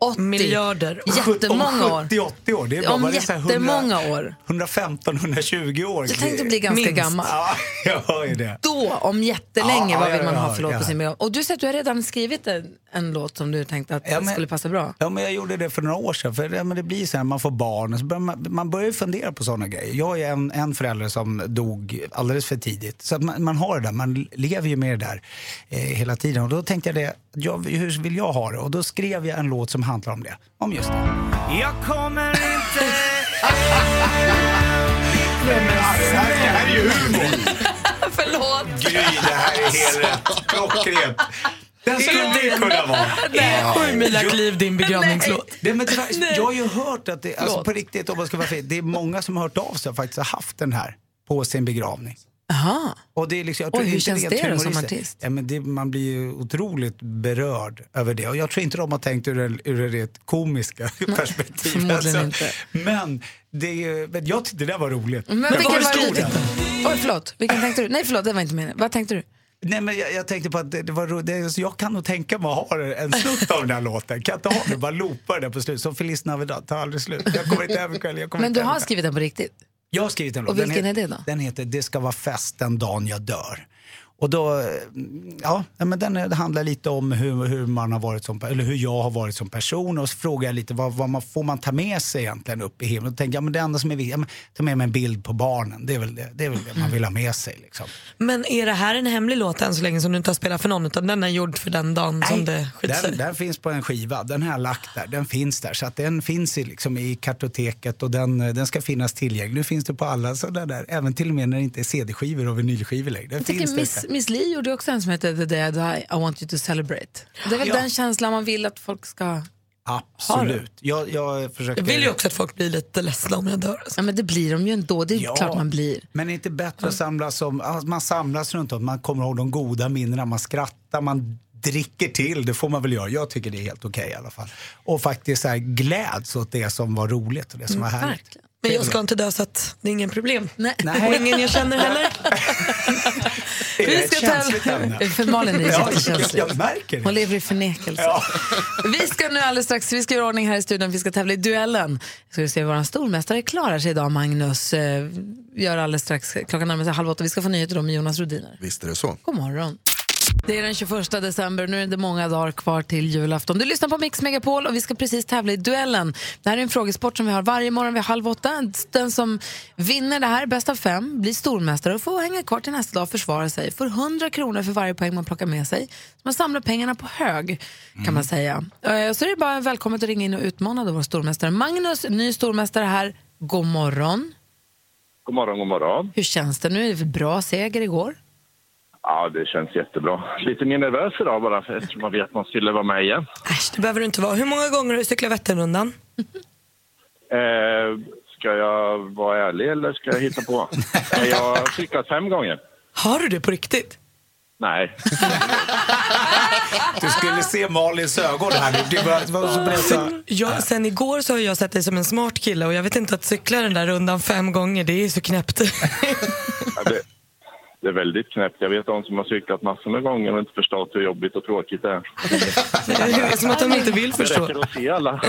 Speaker 2: 80.
Speaker 5: Miljarder.
Speaker 2: Jättemånga år.
Speaker 5: Om 70-80 år. Det är bara
Speaker 2: om
Speaker 5: vad det är så här 100
Speaker 2: jättemånga år.
Speaker 5: 115-120 år.
Speaker 2: Jag tänkte bli ganska
Speaker 5: Minst.
Speaker 2: gammal.
Speaker 5: Ja, jag hör ju det.
Speaker 2: Då, om jättelänge,
Speaker 5: Ja,
Speaker 2: vad vill
Speaker 5: ja,
Speaker 2: man
Speaker 5: ja,
Speaker 2: ha för låt
Speaker 5: ja.
Speaker 2: på sin begravning? Och du säger att du har redan skrivit en, en låt som du tänkte att skulle passa bra.
Speaker 5: Ja, men jag gjorde det för några år sedan. För, ja, men det blir så här, man får barn och så börjar man, man börjar ju fundera på sådana grejer. Jag har ju en, en förälder som dog alldeles för tidigt. Så att man, man har det där, man lever ju med det där eh, hela tiden. Och då tänkte jag det, jag, hur vill jag ha det? Och då skrev jag en låt som handlar om det. Om just det. Jag kommer inte... Det här är ju humor!
Speaker 2: Förlåt!
Speaker 5: Gry, det här är helt rätt. Klockrent. Den skulle det kunna vara.
Speaker 3: Är sju mila kliv
Speaker 2: din begravningslåt?
Speaker 5: Nej, men tyvärr, jag har ju hört att det, alltså
Speaker 2: Förlåt.
Speaker 5: på riktigt, om man ska vara fel, det är många som har hört av sig och faktiskt har haft den här på sin begravning.
Speaker 2: Aha.
Speaker 5: Och det är liksom, jag
Speaker 2: Oj,
Speaker 5: tror
Speaker 2: hur
Speaker 5: inte
Speaker 2: känns
Speaker 5: är
Speaker 2: det då som
Speaker 5: humoristiskt.
Speaker 2: artist?
Speaker 5: Ja, men det, man blir ju otroligt berörd över det. Och jag tror inte de har tänkt ur, en- ur ett rent komiska perspektiv.
Speaker 2: förmodligen
Speaker 5: inte. Men, det, är ju- men jag tyckte det där var roligt.
Speaker 2: Men vilken var det du tänkte? Oj, förlåt. Vilken tänkte du? Nej, förlåt, det var inte meningen. Vad tänkte du?
Speaker 5: Nej, men jag, jag tänkte på att det, det var ro- det, så jag kan nog tänka mig att ha det- en snutt av den här låten. Kan jag inte ha det, bara loopa det där på slut. Som Feliz Navidad, tar aldrig slut. Jag kommer inte hem ikväll, jag kommer
Speaker 2: Men
Speaker 5: inte
Speaker 2: du
Speaker 5: hem
Speaker 2: har
Speaker 5: ikväll.
Speaker 2: skrivit den på riktigt?
Speaker 5: Jag har skrivit en låt.
Speaker 2: Och vilken är det då?
Speaker 5: Den heter Det ska vara fest den dagen jag dör. Och då, eh, ja, nej, men den är- det handlar lite om hur, hur man har varit som, pe- eller hur jag har varit som person och så frågar jag lite vad, vad man, får man ta med sig egentligen upp i himlen? Och då tänker jag, men det enda som är viktigt, ja, men ta med mig en bild på barnen, det är väl det, det, är väl det man vill ha med sig liksom.
Speaker 3: Men är det här en hemlig låt än så länge som du inte har spelat för någon utan den är gjord för den dagen som det skjuts
Speaker 5: Den,
Speaker 3: ut?
Speaker 5: den finns på en skiva, den har jag lagt där, den finns där. Så att den finns i, liksom, i kartoteket och den, eh, den ska finnas tillgänglig. Nu finns det på alla sådana där, även till och med när det inte är CD-skivor och vinylskivor längre. Den
Speaker 2: Jag tycker
Speaker 5: finns där.
Speaker 2: Miss, Miss Li gjorde också en som heter The Day I Die, I want you to celebrate. Det är väl
Speaker 5: Ja.
Speaker 2: den känslan man vill att folk ska...
Speaker 5: Absolut. Jag, jag försöker...
Speaker 3: Jag vill ju också att folk blir lite ledsna om jag dör.
Speaker 2: Ja, men det blir de ju ändå, det är
Speaker 5: Ja.
Speaker 2: klart man blir.
Speaker 5: Men är det inte bättre att samlas som, alltså, man samlas runt om, man kommer ihåg de goda minnena, man skrattar, man dricker till, det får man väl göra. Jag tycker det är helt okej i alla fall. Och faktiskt så här, gläds åt det som var roligt och det som var
Speaker 2: Mm,
Speaker 5: härligt.
Speaker 3: Men jag ska inte dö så att det är ingen problem.
Speaker 2: Nej.
Speaker 3: Och ingen jag känner heller.
Speaker 5: Det är
Speaker 2: Vi
Speaker 5: ett
Speaker 2: ska ta-
Speaker 5: känsligt ämne.
Speaker 2: För Malin är det
Speaker 5: Ja,
Speaker 2: jättekänsligt.
Speaker 5: jag- jag märker det.
Speaker 2: Hon lever i förnekelse. Vi ska nu alldeles strax, vi ska göra ordning här i studion, vi ska tävla i duellen. Ska vi se hur vår stormästare klarar sig idag, Magnus. Eh, Vi gör alldeles strax, klockan närmar sig halv åtta, vi ska få nyheter då med Jonas Rhodiner.
Speaker 8: Visst är det så.
Speaker 2: God morgon. Det är den 21 december nu är det många dagar kvar till julafton. Du lyssnar på Mix Megapol och vi ska precis tävla i duellen. Det här är en frågesport som vi har varje morgon vid halv åtta. Den som vinner det här, bäst av fem, blir stormästare och får hänga kvar till nästa dag och försvara sig. Får 100 kronor för varje poäng man plockar med sig. Så man samlar pengarna på hög, kan man säga. Eh, Så det är bara välkommet att ringa in och utmana då vår stormästare. Magnus, ny stormästare här. God morgon.
Speaker 18: God morgon, god morgon.
Speaker 2: Hur känns det nu? Bra seger igår.
Speaker 18: Ja, det känns jättebra. Lite mer nervös idag bara för- eftersom man vet att man skulle vara med igen.
Speaker 3: Äsch, det behöver du inte vara. Hur många gånger har du cyklat Vätternrundan?
Speaker 18: Eh, ska jag vara ärlig eller ska jag hitta på? Eh, Jag har cyklat fem gånger.
Speaker 3: Har du det på riktigt?
Speaker 18: Nej.
Speaker 5: Du skulle se Malins ögon här nu. Det var, det var så berätta.
Speaker 3: Jag, sen igår så har jag sett dig som en smart kille och jag vet inte att cykla den där rundan fem gånger, det är så knäppt.
Speaker 18: Ja, Det, det är väldigt knäppt. Jag vet de som har cyklat massor med gånger och inte förstått hur jobbigt och tråkigt det är.
Speaker 3: Som att de inte vill
Speaker 18: Det
Speaker 3: förstå.
Speaker 18: räcker att se alla.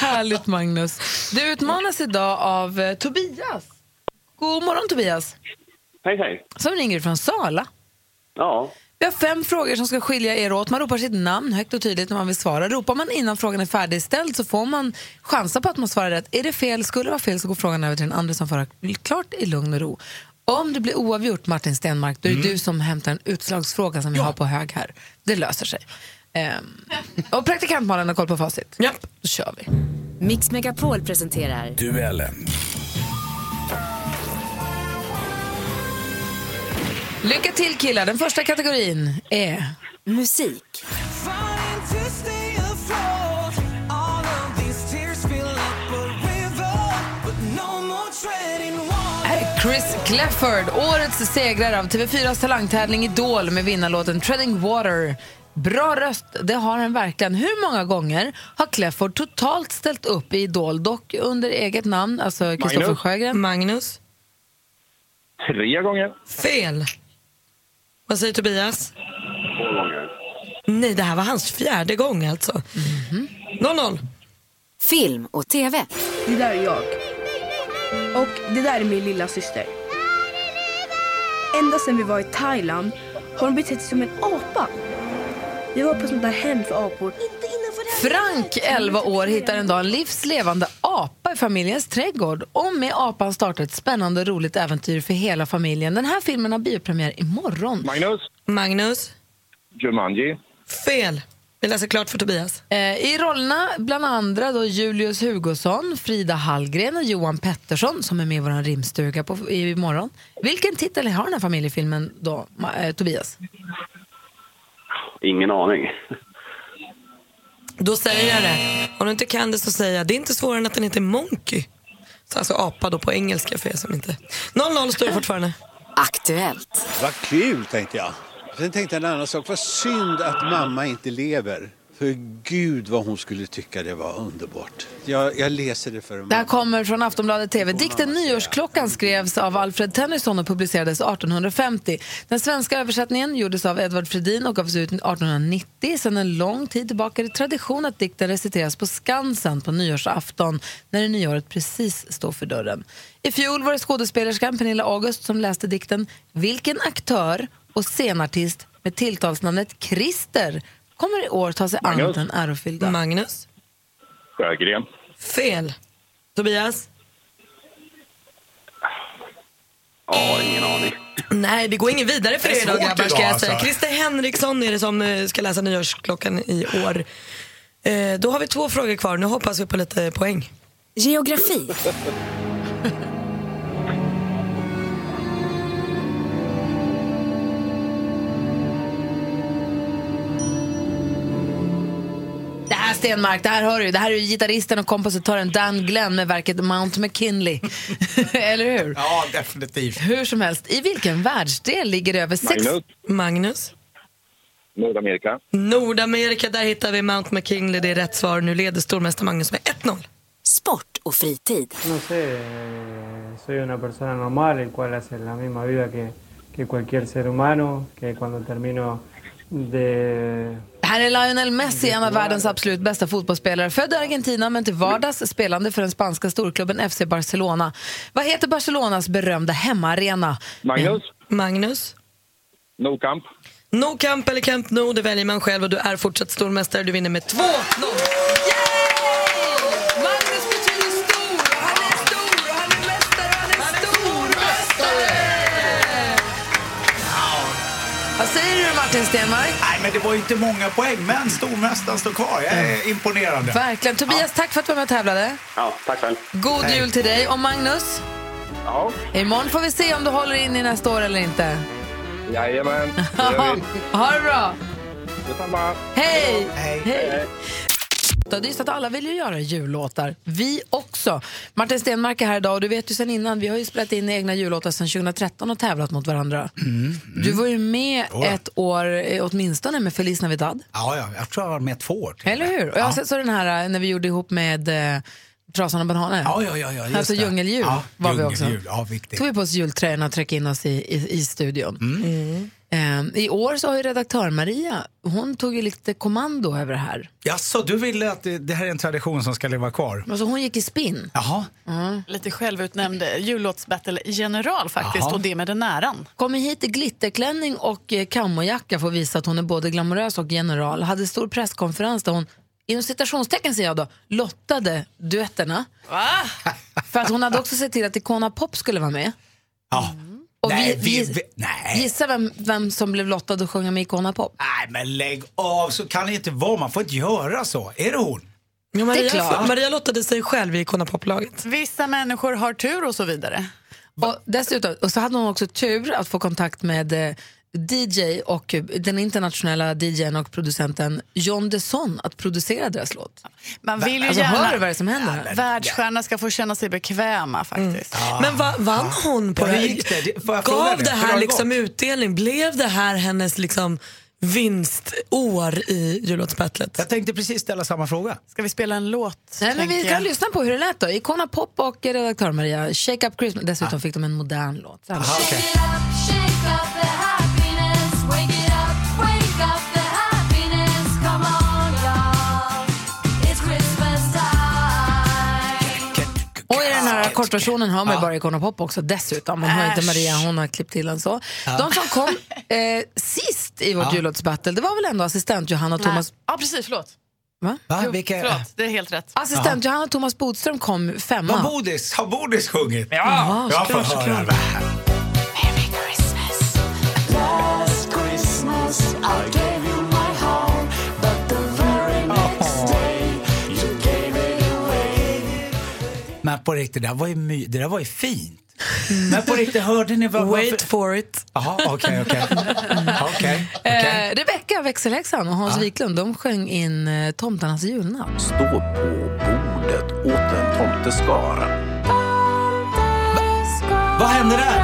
Speaker 2: Härligt Magnus. Du utmanas idag av eh, Tobias. God morgon Tobias.
Speaker 19: Hej, hej.
Speaker 2: Som ringer från Sala.
Speaker 19: Ja.
Speaker 2: Vi har fem frågor som ska skilja er åt. Man ropar sitt namn högt och tydligt när man vill svara. Ropar man innan frågan är färdigställd så får man chansa på att man svarar rätt. Är det fel, skulle det vara fel, så går frågan över till den andra som får ha klart i lugn och ro. Om det blir oavgjort, Martin Stenmark, då är det du som hämtar en utslagsfråga som vi har på hög här. Det löser sig. Ehm, och praktikant Malin har koll på facit.
Speaker 3: Ja.
Speaker 2: Då kör vi.
Speaker 11: Mix Megapol presenterar
Speaker 20: Duellen.
Speaker 2: Lycka till killar, den första kategorin är musik. Här är Chris Clefford, årets segrare av TV4s talangtävling Idol med vinnarlåten Treading Water. Bra röst, det har han verkligen. Hur många gånger har Clefford totalt ställt upp i Idol, dock under eget namn, alltså Kristoffer
Speaker 18: Magnus.
Speaker 2: Sjögren? Magnus.
Speaker 18: Tre gånger.
Speaker 3: Fel. Vad säger Tobias?
Speaker 18: Två gånger.
Speaker 3: Nej, det här var hans fjärde gång alltså.
Speaker 5: Mhm.
Speaker 3: 0-0.
Speaker 11: Film och TV.
Speaker 21: Det där är jag. Och det där är min lilla syster. Ända sedan vi var i Thailand har hon betett sig som en apa. Vi var på ett sånt där hem för apor.
Speaker 2: Frank, 11 år, hittar en dag en livslevande apa i familjens trädgård. Och med apan startar ett spännande och roligt äventyr för hela familjen. Den här filmen har biopremiär imorgon.
Speaker 18: Magnus.
Speaker 3: Magnus.
Speaker 18: Jumanji.
Speaker 3: Fel. Vi läser klart för Tobias.
Speaker 2: Eh, I rollerna bland andra då Julius Hugosson, Frida Hallgren och Johan Pettersson som är med i vår rimstuga på, i- imorgon. Vilken titel har den här familjefilmen då, Ma- eh, Tobias?
Speaker 19: Ingen aning.
Speaker 3: Då säger jag det. Om du inte kan det så säger jag. Det är inte svårare än att den heter Monkey. Så alltså apa då på engelska för er som inte... 0-0 står det fortfarande.
Speaker 11: Aktuellt.
Speaker 22: Vad kul, tänkte jag. Sen tänkte jag en annan sak. Vad synd att mamma inte lever. För gud vad hon skulle tycka det var underbart. Jag, jag läser det för
Speaker 2: Det här
Speaker 22: mamma.
Speaker 2: kommer från Aftonbladet TV. Dikten Nyårsklockan skrevs av Alfred Tennyson och publicerades 1850. Den svenska översättningen gjordes av Edvard Fredin och gavs ut 1890. Sedan en lång tid tillbaka är det tradition att dikten reciteras på Skansen på nyårsafton när det nya året precis står för dörren. I fjol var det skådespelerskan Pernilla August som läste dikten. Vilken aktör och scenartist med tilltalsnamnet Christer kommer i år ta sig an
Speaker 18: Magnus.
Speaker 2: den ärofyllda?
Speaker 3: Magnus?
Speaker 18: Sjögren.
Speaker 3: Fel. Tobias?
Speaker 19: Ja, ingen aning.
Speaker 3: Nej, det går ingen vidare för
Speaker 19: Det är
Speaker 3: er idag
Speaker 19: svårt
Speaker 3: grabbar ska
Speaker 19: idag,
Speaker 3: jag säga.
Speaker 19: alltså.
Speaker 3: Christer Henriksson är det som eh, ska läsa nyårsklockan i år. Eh, Då har vi två frågor kvar. Nu hoppas vi på lite poäng.
Speaker 11: Geografi.
Speaker 2: Det här Stenmark, det här hör du. Det här är ju gitarristen och kompositören Dan Glenn med verket Mount McKinley. Eller hur?
Speaker 5: Ja, definitivt.
Speaker 2: Hur som helst, i vilken världsdel ligger över sex...
Speaker 3: Magnus. Magnus?
Speaker 18: Nordamerika.
Speaker 3: Nordamerika, där hittar vi Mount McKinley. Det är rätt svar. Nu leder stormästare Magnus med 1-0.
Speaker 11: Sport och fritid.
Speaker 23: No sé, eh, soy una persona normal, el cual hace la misma vida que, que cualquier ser humano, que cuando termino de...
Speaker 2: Det här är Lionel Messi, en av världens absolut bästa fotbollsspelare. Född i Argentina men till vardags spelande för den spanska storklubben FC Barcelona. Vad heter Barcelonas berömda hemmaarena?
Speaker 18: Magnus.
Speaker 3: Magnus?
Speaker 18: No Camp.
Speaker 3: No Camp eller Camp No, det väljer man själv och du är fortsatt stormästare. Du vinner med 2-0. Magnus betyder stor, han är stor, han är mästare, han är stormästare! Vad säger du Martin Stenmark?
Speaker 5: Nej, men det var ju inte många poäng, men stormästaren står kvar. Jag är imponerad.
Speaker 2: Mm. Verkligen. Tobias, tack för att du var med och tävlade.
Speaker 19: Ja, tack själv.
Speaker 2: God jul till dig och Magnus.
Speaker 18: Ja.
Speaker 2: Imorgon får vi se om du håller in i nästa år eller inte.
Speaker 18: Jajamän. det gör vi.
Speaker 2: ha det bra!
Speaker 18: Detsamma.
Speaker 2: Hej! Hej! Det är just att alla vill ju göra jullåtar. Vi också. Martin Stenmark är här idag och du vet ju sen innan, vi har ju spelat in egna jullåtar sedan 2013 och tävlat mot varandra.
Speaker 5: Mm.
Speaker 2: Du var ju med
Speaker 5: Jo då.
Speaker 2: ett år eh, åtminstone med Feliz Navidad.
Speaker 5: Ja, ja, jag tror jag var med två år.
Speaker 2: Eller hur? Och jag har sett så den här eh, när vi gjorde ihop med eh, Trasan och bananer?
Speaker 5: Ja, ja, ja, ja, just
Speaker 2: alltså
Speaker 5: det.
Speaker 2: djungeldjur
Speaker 5: Ja,
Speaker 2: var vi också.
Speaker 5: djungeldjur, ja, viktigt.
Speaker 2: tog vi på oss jultröjorna och tryckte in oss i, i, i studion.
Speaker 5: Mm.
Speaker 2: Ehm, I år så har ju redaktör Maria, hon tog ju lite kommando över det här.
Speaker 5: Jaså, du ville att det, det här är en tradition som ska leva kvar?
Speaker 2: Alltså hon gick i spinn.
Speaker 5: Jaha.
Speaker 20: Lite självutnämnd jullåtsbattle-general faktiskt,
Speaker 5: Jaha.
Speaker 20: och det med den äran.
Speaker 2: Kommer hit i glitterklänning och eh, kamojacka för att visa att hon är både glamorös och general. Hade stor presskonferens där hon, inom citationstecken säger jag då, lottade duetterna. För att hon hade också sett till att Icona Pop skulle vara med.
Speaker 5: Ja.
Speaker 2: Och
Speaker 5: nej,
Speaker 2: vi,
Speaker 5: vi,
Speaker 2: vi,
Speaker 5: vi, nej.
Speaker 2: Gissa vem, vem som blev lottad att sjunga med Icona Pop?
Speaker 5: nej, men lägg av. Så kan det inte vara. Man får inte göra så. Är det hon?
Speaker 3: Ja, Maria,
Speaker 20: Det är klart.
Speaker 3: Maria lottade sig själv i Icona Poplaget.
Speaker 20: Vissa människor har tur och så vidare.
Speaker 2: Och dessutom och så hade hon också tur att få kontakt med eh, DJ och eh, den internationella DJn och producenten John Desson att producera deras låt.
Speaker 20: Man vill ju
Speaker 2: alltså,
Speaker 20: gärna...
Speaker 2: Hör du vad det är som händer? Mm. här?
Speaker 20: Världsstjärnor ska få känna sig bekväma faktiskt.
Speaker 3: Men va, vann hon på
Speaker 20: Ja, Ah.
Speaker 3: det
Speaker 20: hur
Speaker 3: här?
Speaker 20: gick det? Det- får jag fråga
Speaker 3: Gav
Speaker 20: nu?
Speaker 3: det
Speaker 20: Hur har
Speaker 3: här
Speaker 20: det
Speaker 3: liksom utdelning? Blev det här hennes liksom vinstår i jullåtsbattlet?
Speaker 5: Jag tänkte precis ställa samma fråga.
Speaker 20: Ska vi spela en låt?
Speaker 2: Nej, men vi
Speaker 20: tänker jag?
Speaker 2: kan lyssna på hur det lät då. Icona Pop och eh, redaktör Maria, Shake Up Christmas. Dessutom fick de en modern låt. Så här låter det. Och i den här kortversionen hör man ju bara Icona Pop också dessutom. Man hör inte
Speaker 20: Äsch.
Speaker 2: Maria, hon har klippt till den så.
Speaker 20: Ja.
Speaker 2: De som kom eh, sist i vårt
Speaker 20: Ja.
Speaker 2: jullåtsbattle, det var väl ändå assistent Johanna och
Speaker 20: Nej.
Speaker 2: Thomas...
Speaker 20: Ja, precis. Förlåt.
Speaker 2: Va?
Speaker 5: Va? Vilka?
Speaker 20: Förlåt, det är helt rätt.
Speaker 2: Assistent Johanna och Thomas Bodström kom femma.
Speaker 5: Vad Bodis? Har Bodis sjungit? Mm.
Speaker 2: Ja,
Speaker 5: jag får
Speaker 2: såklart,
Speaker 5: höra.
Speaker 2: såklart.
Speaker 5: det här. Men på riktigt, det där var ju, my- det där var ju fint. Men på riktigt, hörde ni vad...
Speaker 3: Wait for it.
Speaker 5: Jaha, okej, okej. Okej.
Speaker 2: Eh, Rebecka växelhäxan och Hans Wiklund de sjöng in eh, Tomtarnas julnatt.
Speaker 24: Stå på bordet åt en tomteskara.
Speaker 5: Vad hände där?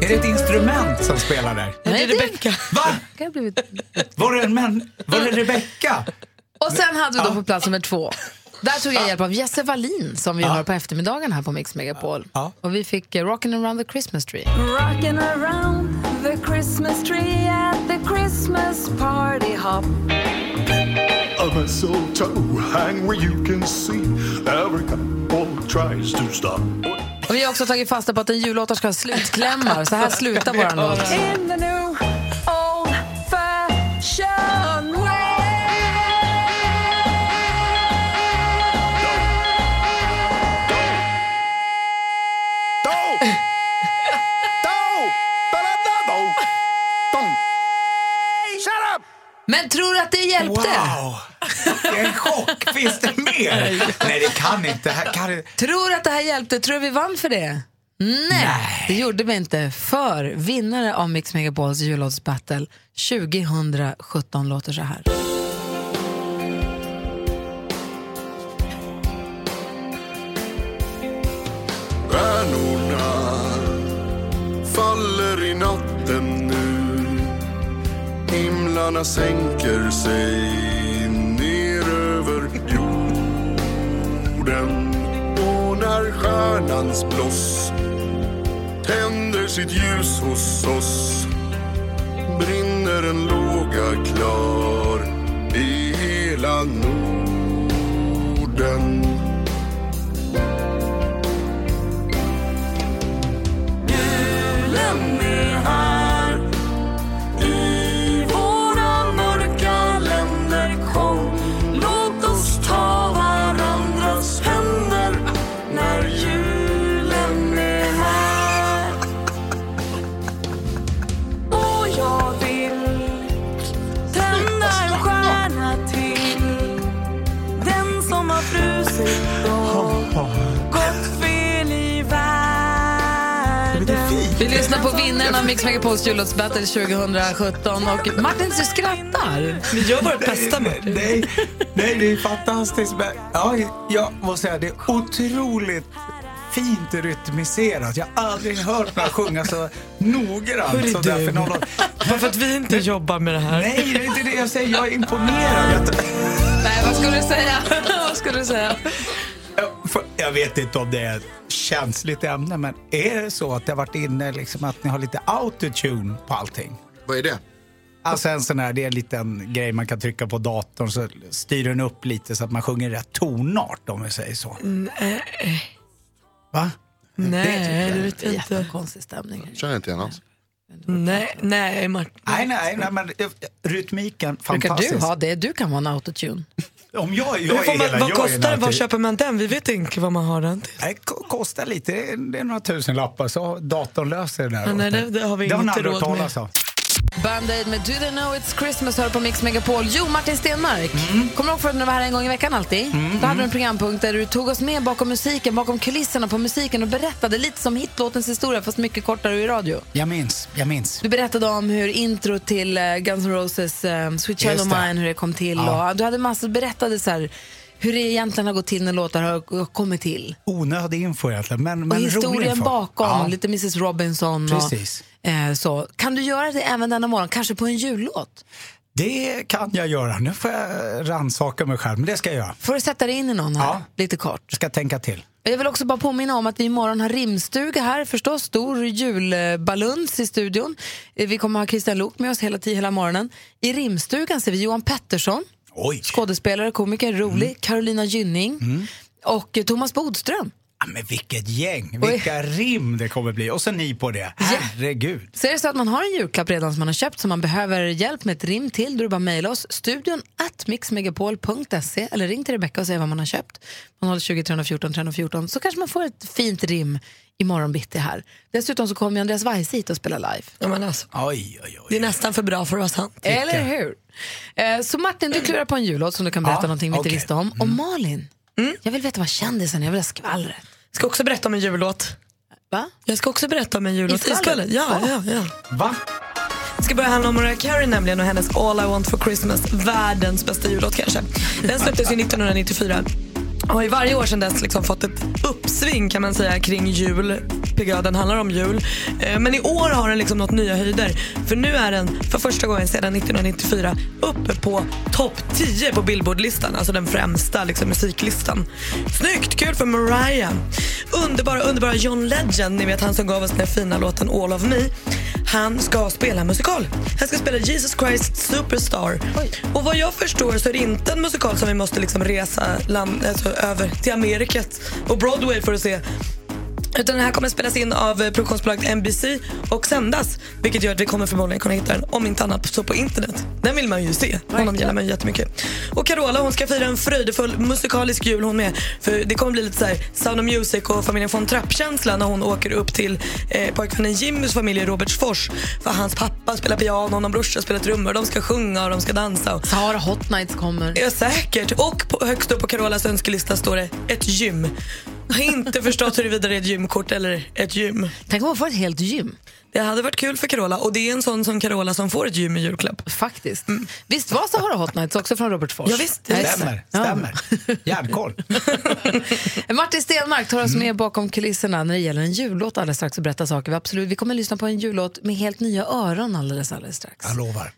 Speaker 5: Är det ett instrument som spelar där?
Speaker 2: Nej, det är
Speaker 3: Rebecka.
Speaker 5: Va?
Speaker 2: Det har blivit...
Speaker 5: Var det en män? Var det Rebecka?
Speaker 2: Och sen hade vi då på plats nummer två. Där tog jag hjälp av Jesse Wallin som vi har på eftermiddagen här på Mix Megapol. Och vi fick eh, Rockin' around the Christmas tree.
Speaker 10: Rocking around the Christmas tree at the Christmas party hop.
Speaker 12: A mistletoe hang where you can see every couple tries to stop.
Speaker 2: Och vi har också tagit fasta på att en jullåtar ska ha slutklämmar. Så här slutar våran låt.
Speaker 10: In the new old fashioned way.
Speaker 2: Men tror du att det hjälpte?
Speaker 5: Wow! Jag är i chock. Finns det mer? Nej, det kan inte. Här kan det...
Speaker 2: Tror du att det här hjälpte? Tror du vi vann för det? Nej, det gjorde vi inte. För vinnare av Mix Megapols jullåtsbattle 2017 låter så här.
Speaker 12: Stjärnorna faller i natten nu Himlarna sänker sig ner över jorden Och när stjärnans blås tänder sitt ljus hos oss brinner en låga klar i hela Norden Julen är här I våra mörka länder kom Låt oss ta varandras händer När julen är här
Speaker 10: Och jag vill tända en stjärna till. Den som har frusit och gått fel i världen.
Speaker 2: Vi lyssnar på vinnaren av Mix Megapols jullåtsbattle 2017 och Martin du skrattar.
Speaker 3: Vi gör vårt
Speaker 5: bästa med nej, nej, det är fantastiskt. Men, ja, jag måste säga, det är otroligt fint rytmiserat. Jag har aldrig hört någon sjunga så
Speaker 3: Hur är
Speaker 5: noggrant som det här
Speaker 3: du?
Speaker 5: för någon år.
Speaker 3: Bara för att vi inte jobbar med det här.
Speaker 5: Nej, det är inte det jag säger. Jag är imponerad.
Speaker 2: Nej, vad skulle du säga? Vad
Speaker 3: skulle du säga?
Speaker 5: För- Jag vet inte om det är ett känsligt ämne, men är det så att det har varit inne liksom att ni har lite autotune på allting?
Speaker 8: Vad är det?
Speaker 5: Alltså en sån här, det är en liten grej man kan trycka på datorn så styr den upp lite så att man sjunger rätt tonart om vi säger så.
Speaker 3: Mm, eh, Nej.
Speaker 5: Va?
Speaker 3: Nej, det vet jag inte.
Speaker 2: Konstig stämning.
Speaker 8: Känner inte igen alls.
Speaker 3: Nej, nej Martin.
Speaker 5: Nej, nej, nej, men rytmiken,
Speaker 2: Brukar
Speaker 5: fantastisk.
Speaker 2: du ha det? Du kan vara en autotune.
Speaker 5: Om jag,
Speaker 3: Hur
Speaker 5: jag
Speaker 3: får
Speaker 5: är
Speaker 3: man,
Speaker 5: hela,
Speaker 3: vad
Speaker 5: jag är
Speaker 3: kostar
Speaker 5: en
Speaker 3: Vad
Speaker 5: autotune.
Speaker 3: köper man den? Vi vet inte vad man har den till.
Speaker 5: Nej, ko- kostar lite, det är, det är några tusen lappar så datorn löser det där.
Speaker 3: Ja,
Speaker 5: åt
Speaker 3: nej,
Speaker 5: dig.
Speaker 3: det- det har vi
Speaker 5: det har
Speaker 3: inte
Speaker 5: ni aldrig
Speaker 3: råd
Speaker 5: hört talas om.
Speaker 2: Band-Aid med Do They Know It's Christmas hör på Mix Megapol. Jo, Martin Stenmark.
Speaker 5: Mm.
Speaker 2: Kommer du ihåg förut när du var här en gång i veckan alltid? Då hade du en programpunkt där du tog oss med bakom musiken, bakom kulisserna på musiken och berättade lite som hitlåtens historia fast mycket kortare och i radio.
Speaker 5: Jag minns, jag minns.
Speaker 2: Du berättade om hur intro till eh, Guns N' Roses eh, Sweet Child of
Speaker 5: Just det.
Speaker 2: Mine, hur det kom till.
Speaker 5: Ja.
Speaker 2: Och du hade massor, berättade så här, hur det egentligen har gått till när låtar har kommit till.
Speaker 5: Onödig info egentligen, men,
Speaker 2: Och
Speaker 5: men rolig
Speaker 2: historien
Speaker 5: info.
Speaker 2: bakom,
Speaker 5: Ja.
Speaker 2: lite Mrs Robinson.
Speaker 5: Precis.
Speaker 2: Och, eh, så. Kan du göra det även denna morgon, kanske på en jullåt?
Speaker 5: Det kan jag göra. Nu får jag rannsaka mig själv, men det ska jag göra.
Speaker 2: Får du sätta dig in i någon här, lite kort?
Speaker 5: Jag ska tänka till.
Speaker 2: Jag vill också bara påminna om att vi imorgon har rimstuga här förstås, stor julbaluns i studion. Eh, Vi kommer ha Kristian Lok med oss hela tiden, hela morgonen. I rimstugan ser vi Johan Pettersson,
Speaker 5: Oj. Mm.
Speaker 2: skådespelare, komiker, rolig, Carolina Gynning och eh, Thomas Bodström.
Speaker 5: Ja, men vilket gäng, vilka rim det kommer bli. Och så ni på det. Herregud.
Speaker 2: Så är det så att man har en julklapp redan som man har köpt som man behöver hjälp med ett rim till, då är det bara att mejla oss. Studion at mixmegapol.se eller ring till Rebecka och säg vad man har köpt. Man håller 20 314 314 så kanske man får ett fint rim imorgon bitti här. Dessutom så kommer ju Andreas Weise hit och spelar live.
Speaker 3: Ja, men alltså,
Speaker 5: Oj, oj,
Speaker 3: det är nästan för bra för att vara sant.
Speaker 2: Eller hur? Eh, Så Martin, du klurar på en jullåt som du kan berätta
Speaker 3: Ja,
Speaker 2: någonting vi inte
Speaker 3: okej.
Speaker 2: visste om.
Speaker 5: Mm.
Speaker 2: Och Malin,
Speaker 3: Mm.
Speaker 2: jag vill veta vad kändisen är, jag vill ha skvallret.
Speaker 3: Ska också berätta om en jullåt.
Speaker 2: Va?
Speaker 3: Jag ska också berätta om en jullåt.
Speaker 2: I
Speaker 3: I
Speaker 2: skvallret?
Speaker 3: skvallret? Ja, ja, ja.
Speaker 5: Va?
Speaker 3: Det ska börja handla om Mariah Carey nämligen och hennes All I Want For Christmas. Världens bästa jullåt kanske. Den släpptes ju 1994 och har ju varje år sedan dess liksom fått ett uppsving kan man säga kring jul. PGA, den handlar om jul. Eh, Men i år har den liksom nått nya höjder. För nu är den för första gången sedan 1994 uppe på topp 10 på Billboardlistan. Alltså den främsta liksom, musiklistan. Snyggt! Kul för Mariah. Underbara, underbara John Legend, ni vet han som gav oss den här fina låten All of me. Han ska spela musikal. Han ska spela Jesus Christ Superstar. Och vad jag förstår så är det inte en musikal som vi måste liksom resa land, alltså, över till Amerikat och Broadway för att se. Utan den här kommer spelas in av eh, produktionsbolaget NBC och sändas. Vilket gör att vi kommer förmodligen kunna hitta den, om inte annat så på internet. Den vill man ju se. Honom gillar man ju jättemycket. Och Carola hon ska fira en fröjdefull musikalisk jul hon med. För det kommer bli lite så här Sound of Music och familjen von Trapp-känsla när hon åker upp till eh, pojkvännen Jimmys familj i Robertsfors. För hans pappa spelar piano, och brorsa spelar trummor. De ska sjunga och de ska dansa. Och
Speaker 2: Sahara Hot Nights kommer.
Speaker 3: Ja, säkert. Och på, högst upp på Carolas önskelista står det ett gym. Jag har inte förstått huruvida det är ett gymkort eller ett gym.
Speaker 2: Tänk om man får ett helt gym.
Speaker 3: Det hade varit kul för Carola och det är en sån som Carola som får ett gym i julklapp. Mm.
Speaker 2: Faktiskt. Visst var Sahara Hot Nights också från Robertsfors?
Speaker 3: Ja, visst, det
Speaker 2: Nej,
Speaker 5: Stämmer,
Speaker 2: ja.
Speaker 5: stämmer. Järnkoll.
Speaker 2: Martin Stenmark tar
Speaker 3: Mm.
Speaker 2: oss med bakom kulisserna när det gäller en jullåt alldeles strax och berätta saker. Vi, absolut, vi kommer lyssna på en jullåt med helt nya öron alldeles, alldeles strax.
Speaker 5: Jag lovar.
Speaker 3: Mm.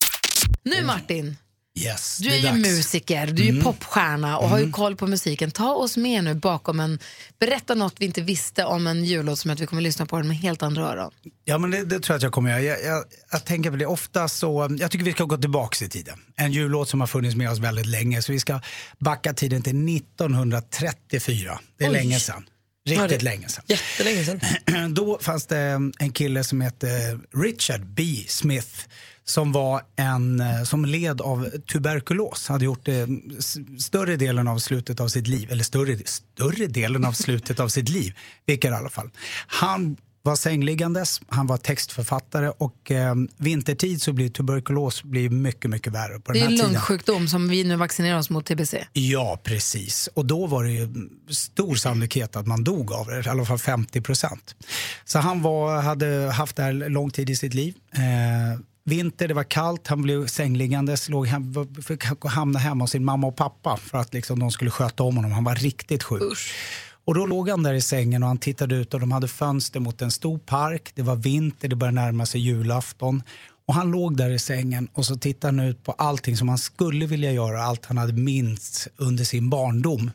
Speaker 2: Nu Martin,
Speaker 5: Yes,
Speaker 2: du
Speaker 5: det
Speaker 2: är ju
Speaker 5: dags. Mm.
Speaker 2: musiker, du är ju popstjärna och har ju koll på musiken. Ta oss med nu bakom en, berätta något vi inte visste om en jullåt som att vi kommer lyssna på den med helt andra öron.
Speaker 5: Ja, men det, det tror jag att jag kommer göra. Jag, jag, jag tänker på det ofta så, jag tycker vi ska gå tillbaks i tiden. En jullåt som har funnits med oss väldigt länge, så vi ska backa tiden till 1934. Det är
Speaker 3: Oj.
Speaker 5: länge sedan.
Speaker 3: Ja,
Speaker 5: Riktigt
Speaker 3: det-
Speaker 5: länge sedan.
Speaker 3: Jättelänge sedan.
Speaker 5: Då fanns det en kille som hette eh, Richard B. Smith som var en eh, som led av tuberkulos. Hade gjort eh, s- större delen av slutet av sitt liv, eller större, större delen av slutet av sitt liv, vilket i alla fall. Han var sängliggandes, han var textförfattare och eh, vintertid så blir tuberkulos blir mycket, mycket värre på
Speaker 2: Det
Speaker 5: den
Speaker 2: är
Speaker 5: här
Speaker 2: en
Speaker 5: tiden.
Speaker 2: lungsjukdom som vi nu vaccinerar oss mot, TBC.
Speaker 5: Ja, precis. Och då var det ju stor sannolikhet att man dog av det, i alla fall 50 procent. Så han var, hade haft det här lång tid i sitt liv. Eh, vinter, det var kallt, han blev sängliggandes, låg hem, var- fick hamna hemma hos sin mamma och pappa för att liksom de skulle sköta om honom. Han var riktigt sjuk. Och då låg han där i sängen och han tittade ut och de hade fönster mot en stor park. Det var vinter, det började närma sig julafton. Och Och han låg där i sängen och så tittade han ut på allting som han skulle vilja göra, allt han hade minst under sin barndom.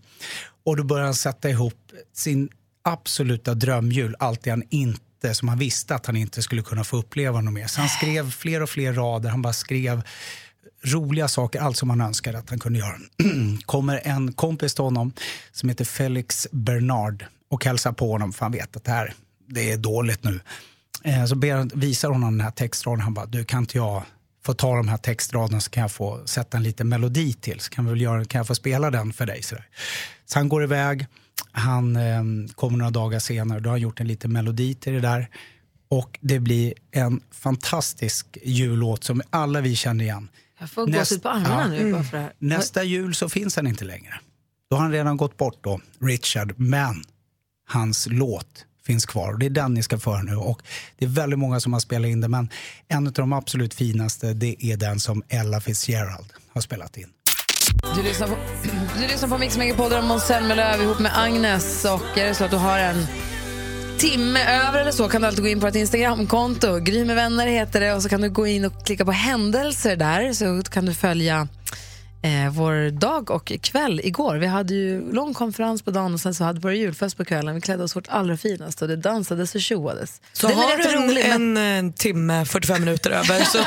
Speaker 5: Och då började han sätta ihop sin absoluta drömjul, allt det han inte, som han visste att han inte skulle kunna få uppleva något mer. Så han skrev fler och fler rader, han bara skrev roliga saker, allt som han önskade att han kunde göra. Kommer en kompis till honom som heter Felix Bernard och hälsar på honom för han vet att det här, det är dåligt nu. Eh, Så ber, han- visar honom den här textraden, han bara, du kan inte jag få ta de här textraderna så kan jag få sätta en liten melodi till, så kan, vi väl göra, kan jag få spela den för dig? Sådär. Så han går iväg, han eh, kommer några dagar senare, då har han gjort en liten melodi till det där. Och det blir en fantastisk jullåt som alla vi känner igen.
Speaker 2: Jag får gåshud på armarna
Speaker 5: ja. Mm.
Speaker 2: nu bara för det här.
Speaker 5: Nästa jul så finns han inte längre. Då har han redan gått bort då, Richard. Men hans låt finns kvar och det är den ni ska få höra nu. Och det är väldigt många som har spelat in den men en av de absolut finaste det är den som Ella Fitzgerald har spelat in.
Speaker 2: Du lyssnar på, du lyssnar på Mix Megapol där Måns Zelmerlöw ihop med Agnes. Och är det så att du har en timme över eller så kan du alltid gå in på vårt Instagramkonto. Gry med vänner heter det. Och så kan du gå in och klicka på händelser där så kan du följa eh, vår dag och kväll igår. Vi hade ju lång konferens på dagen och sen så hade vi vår julfest på kvällen. Vi klädde oss vårt allra finaste och det dansades och tjoades.
Speaker 3: Så
Speaker 2: Den är
Speaker 3: har
Speaker 2: rätt
Speaker 3: du en,
Speaker 2: rolig, men-
Speaker 3: en, eh, timme, 45 minuter över så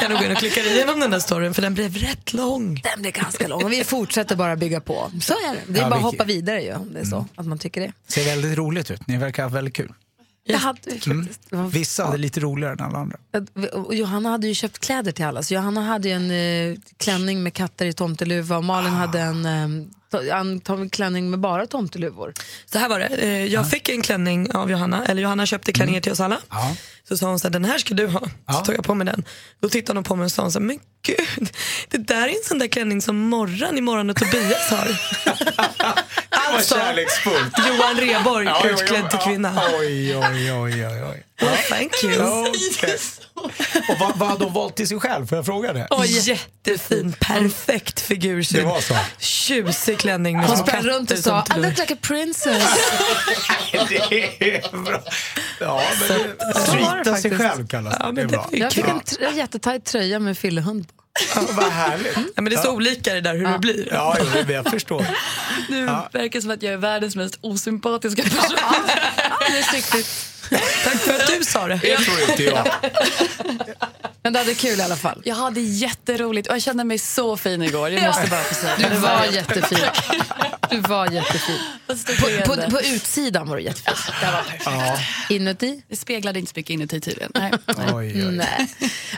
Speaker 3: kan du gå in och klicka igenom den där storyn för den blev rätt lång.
Speaker 2: Den blev ganska lång och vi fortsätter bara bygga på. Så är det. Det är
Speaker 5: Ja,
Speaker 2: bara att
Speaker 5: vi-
Speaker 2: hoppa vidare ju om det är så
Speaker 5: Mm.
Speaker 2: att man tycker det.
Speaker 5: Ser väldigt roligt ut, ni verkar ha väldigt kul.
Speaker 2: Jag hade ju faktiskt-
Speaker 5: Mm. Vissa hade lite roligare än alla andra.
Speaker 2: Att- och Johanna hade ju köpt kläder till alla, så Johanna hade ju en eh, klänning med katter i tomteluva och Malin hade en, eh, to- en tom- klänning med bara tomteluvor.
Speaker 3: Så här var det, eh, jag fick en klänning av Johanna, eller Johanna
Speaker 5: Mm.
Speaker 3: köpte klänningar till oss alla. Så sa hon så här, den här ska du ha. Så tog jag på mig den. Då tittade hon på mig och sa så här, men gud, det där är en sån där klänning som Morran i Morran och Tobias har. alltså,
Speaker 5: kärleksfullt.
Speaker 3: Johan Rheborg,
Speaker 5: Ja, jo, jo,
Speaker 3: utklädd till
Speaker 5: ja.
Speaker 3: kvinna.
Speaker 5: Oj, oj, oj, oj. oj.
Speaker 3: Thank you.
Speaker 5: Okej. Och vad, vad hade hon valt till sig själv? Får jag fråga det?
Speaker 3: Och jättefin, perfekt figursyn.
Speaker 5: Det var så.
Speaker 3: Tjusig klänning. med
Speaker 2: Hon
Speaker 3: små
Speaker 2: sprang
Speaker 3: katter
Speaker 2: runt och
Speaker 3: som
Speaker 2: sa I
Speaker 3: tog-
Speaker 2: look like a princess.
Speaker 5: det är bra. Ja, men det,
Speaker 2: Så var det
Speaker 5: treata sig
Speaker 2: faktiskt.
Speaker 5: själv kallas det. det. är bra.
Speaker 2: Jag fick
Speaker 5: Ja.
Speaker 2: en tr- jättetajt tröja med fyllehund på.
Speaker 5: Vad härligt.
Speaker 3: Ja, men det är så
Speaker 2: Ja.
Speaker 3: olika det där hur det blir.
Speaker 5: Ja, jo, det- jag förstår.
Speaker 1: Nu
Speaker 5: Ja.
Speaker 1: verkar det som att jag är världens mest osympatiska person.
Speaker 2: Alldeles riktigt.
Speaker 3: Tack för att du sa det.
Speaker 5: Det tror inte jag.
Speaker 2: Men du hade kul i alla fall.
Speaker 1: Jag hade jätteroligt och jag kände mig så fin igår. Jag
Speaker 2: Ja.
Speaker 1: måste bara få säga
Speaker 2: Du
Speaker 1: det.
Speaker 2: var jättefin. Du var jättefin. På, på, på utsidan var du jättefin.
Speaker 1: Det var perfekt.
Speaker 2: Inuti?
Speaker 1: Det speglade inte så mycket inuti tydligen. Nej.
Speaker 2: Nej.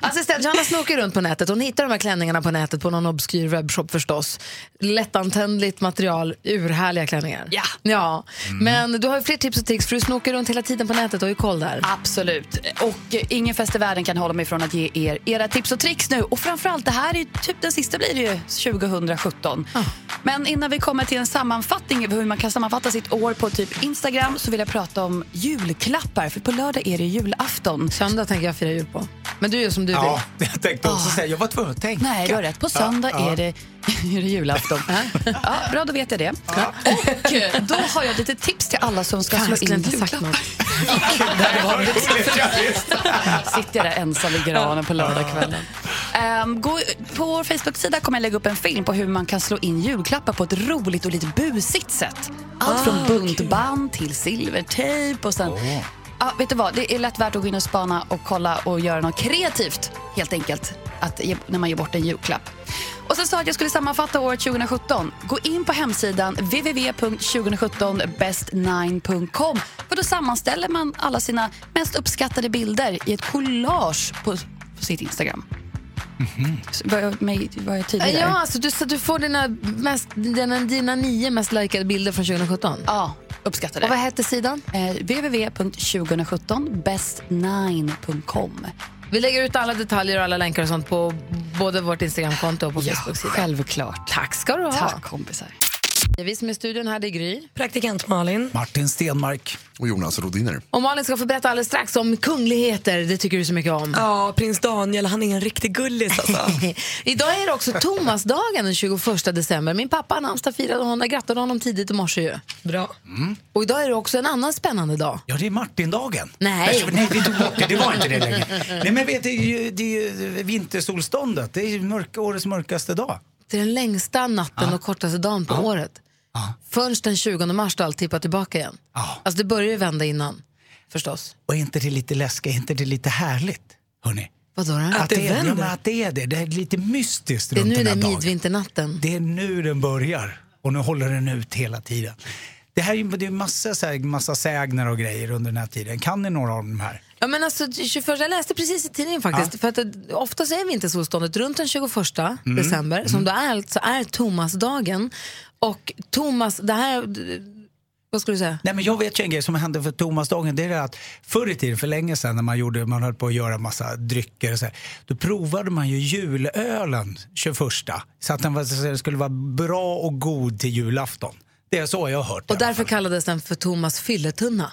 Speaker 2: Assistent Johanna snokar runt på nätet. Hon hittar de här klänningarna på nätet på någon obskyr webbshop förstås. Lättantändligt material, urhärliga klänningar. Ja. ja. Men du har ju fler tips och tricks för du snokar runt hela tiden på nätet och har ju koll där.
Speaker 1: Absolut. Och eh, ingen fest i världen kan hålla mig från att ge er era tips och tricks nu. Och framförallt, det här är ju typ den sista blir det ju 2017. Men innan vi kommer till en sammanfattning över hur man kan sammanfatta sitt år på typ Instagram så vill jag prata om julklappar. För på lördag är det julafton.
Speaker 2: Söndag tänker jag fira jul på. Men du gör som du vill.
Speaker 5: Ja, jag tänkte också säga, jag var tvungen att tänka.
Speaker 1: Nej, du har rätt. På söndag
Speaker 5: Ja, ja.
Speaker 1: Är, det, är det julafton. ja, bra, då vet jag det. Och eh, då har jag lite tips till alla som ska
Speaker 2: Fan,
Speaker 1: slå
Speaker 2: jag skulle
Speaker 1: in
Speaker 2: inte ha sagt
Speaker 1: julklappar. Det hade varit- Sitter jag där ensam i granen på lördagskvällen. Ehm, gå, på vår Facebook-sida kommer jag lägga upp en film på hur man kan slå in julklappar på ett roligt och lite busigt sätt. Allt från buntband till silvertejp och sen... Ja, vet du vad? Det är lätt värt att gå in och spana och kolla och göra något kreativt helt enkelt att ge, när man ger bort en julklapp. Och sen sa jag att jag skulle sammanfatta året 2017. Gå in på hemsidan www.2017best9.com för då sammanställer man alla sina mest uppskattade bilder i ett collage på, på sitt Instagram. Så Var jag, mig- var jag tydlig där?
Speaker 2: Ja, alltså du, så du får dina, mest, dina, dina nio mest likade bilder från 2017.
Speaker 1: Ja, uppskattar det.
Speaker 2: Och vad hette sidan?
Speaker 1: Eh, www.2017best9.com.
Speaker 2: Vi lägger ut alla detaljer och alla länkar och sånt på både vårt Instagramkonto och på Facebook-sidan.
Speaker 1: Självklart.
Speaker 2: Tack ska du ha.
Speaker 1: Tack kompisar.
Speaker 2: Vi som är i studion här, det är Gry.
Speaker 3: Praktikant Malin.
Speaker 5: Martin Stenmark.
Speaker 8: Och Jonas Rodiner.
Speaker 2: Och Malin ska få berätta alldeles strax om kungligheter, det tycker du så mycket om.
Speaker 3: Ja, prins Daniel, han är en riktig gullis alltså.
Speaker 2: Idag är det också Thomasdagen den 21 december. Min pappa har namnsdag firade honom, jag grattade honom tidigt i morse ju.
Speaker 3: Bra.
Speaker 5: Mm.
Speaker 2: Och idag är det också en annan spännande dag.
Speaker 5: Ja, det är Martindagen.
Speaker 2: Nej.
Speaker 5: Nej, vi tog bort det. Det var inte det längre. Nej, men vet, du, det, är ju, det är ju vintersolståndet. Det är ju mörka, årets mörkaste dag.
Speaker 2: Det är den längsta natten och kortaste dagen på året. Förrän den 20 mars då allt tippar tillbaka igen. Alltså det börjar ju vända innan, förstås.
Speaker 5: Och är inte det lite läskigt? Är inte det lite härligt? Hörrni?
Speaker 2: Vadå då?
Speaker 5: Att, det är, ja, men att det är det. Det är lite mystiskt
Speaker 2: Det är
Speaker 5: runt
Speaker 2: nu
Speaker 5: den
Speaker 2: det
Speaker 5: här
Speaker 2: är
Speaker 5: dagen.
Speaker 2: midvinternatten.
Speaker 5: Det är nu den börjar och nu håller den ut hela tiden. Det här är ju det är massa, så här, massa sägner och grejer under den här tiden. Kan ni några av de här?
Speaker 2: Ja, men alltså, 21, jag läste precis i tidningen faktiskt. För att det, ofta så är vintersolståndet runt den 21
Speaker 5: Mm.
Speaker 2: december, som då är, alltså är Thomasdagen. Och Thomas, det här, vad skulle du säga?
Speaker 5: Nej, men jag vet ju en grej som hände för Thomasdagen. Det är det att förr i tiden, för länge sedan, när man, gjorde, man höll på att göra massa drycker och så här, då provade man ju julölen 21. Så att den var, så att den skulle vara bra och god till julafton. Det är så jag har hört.
Speaker 2: Och därför kallades den för Thomas fylletunna.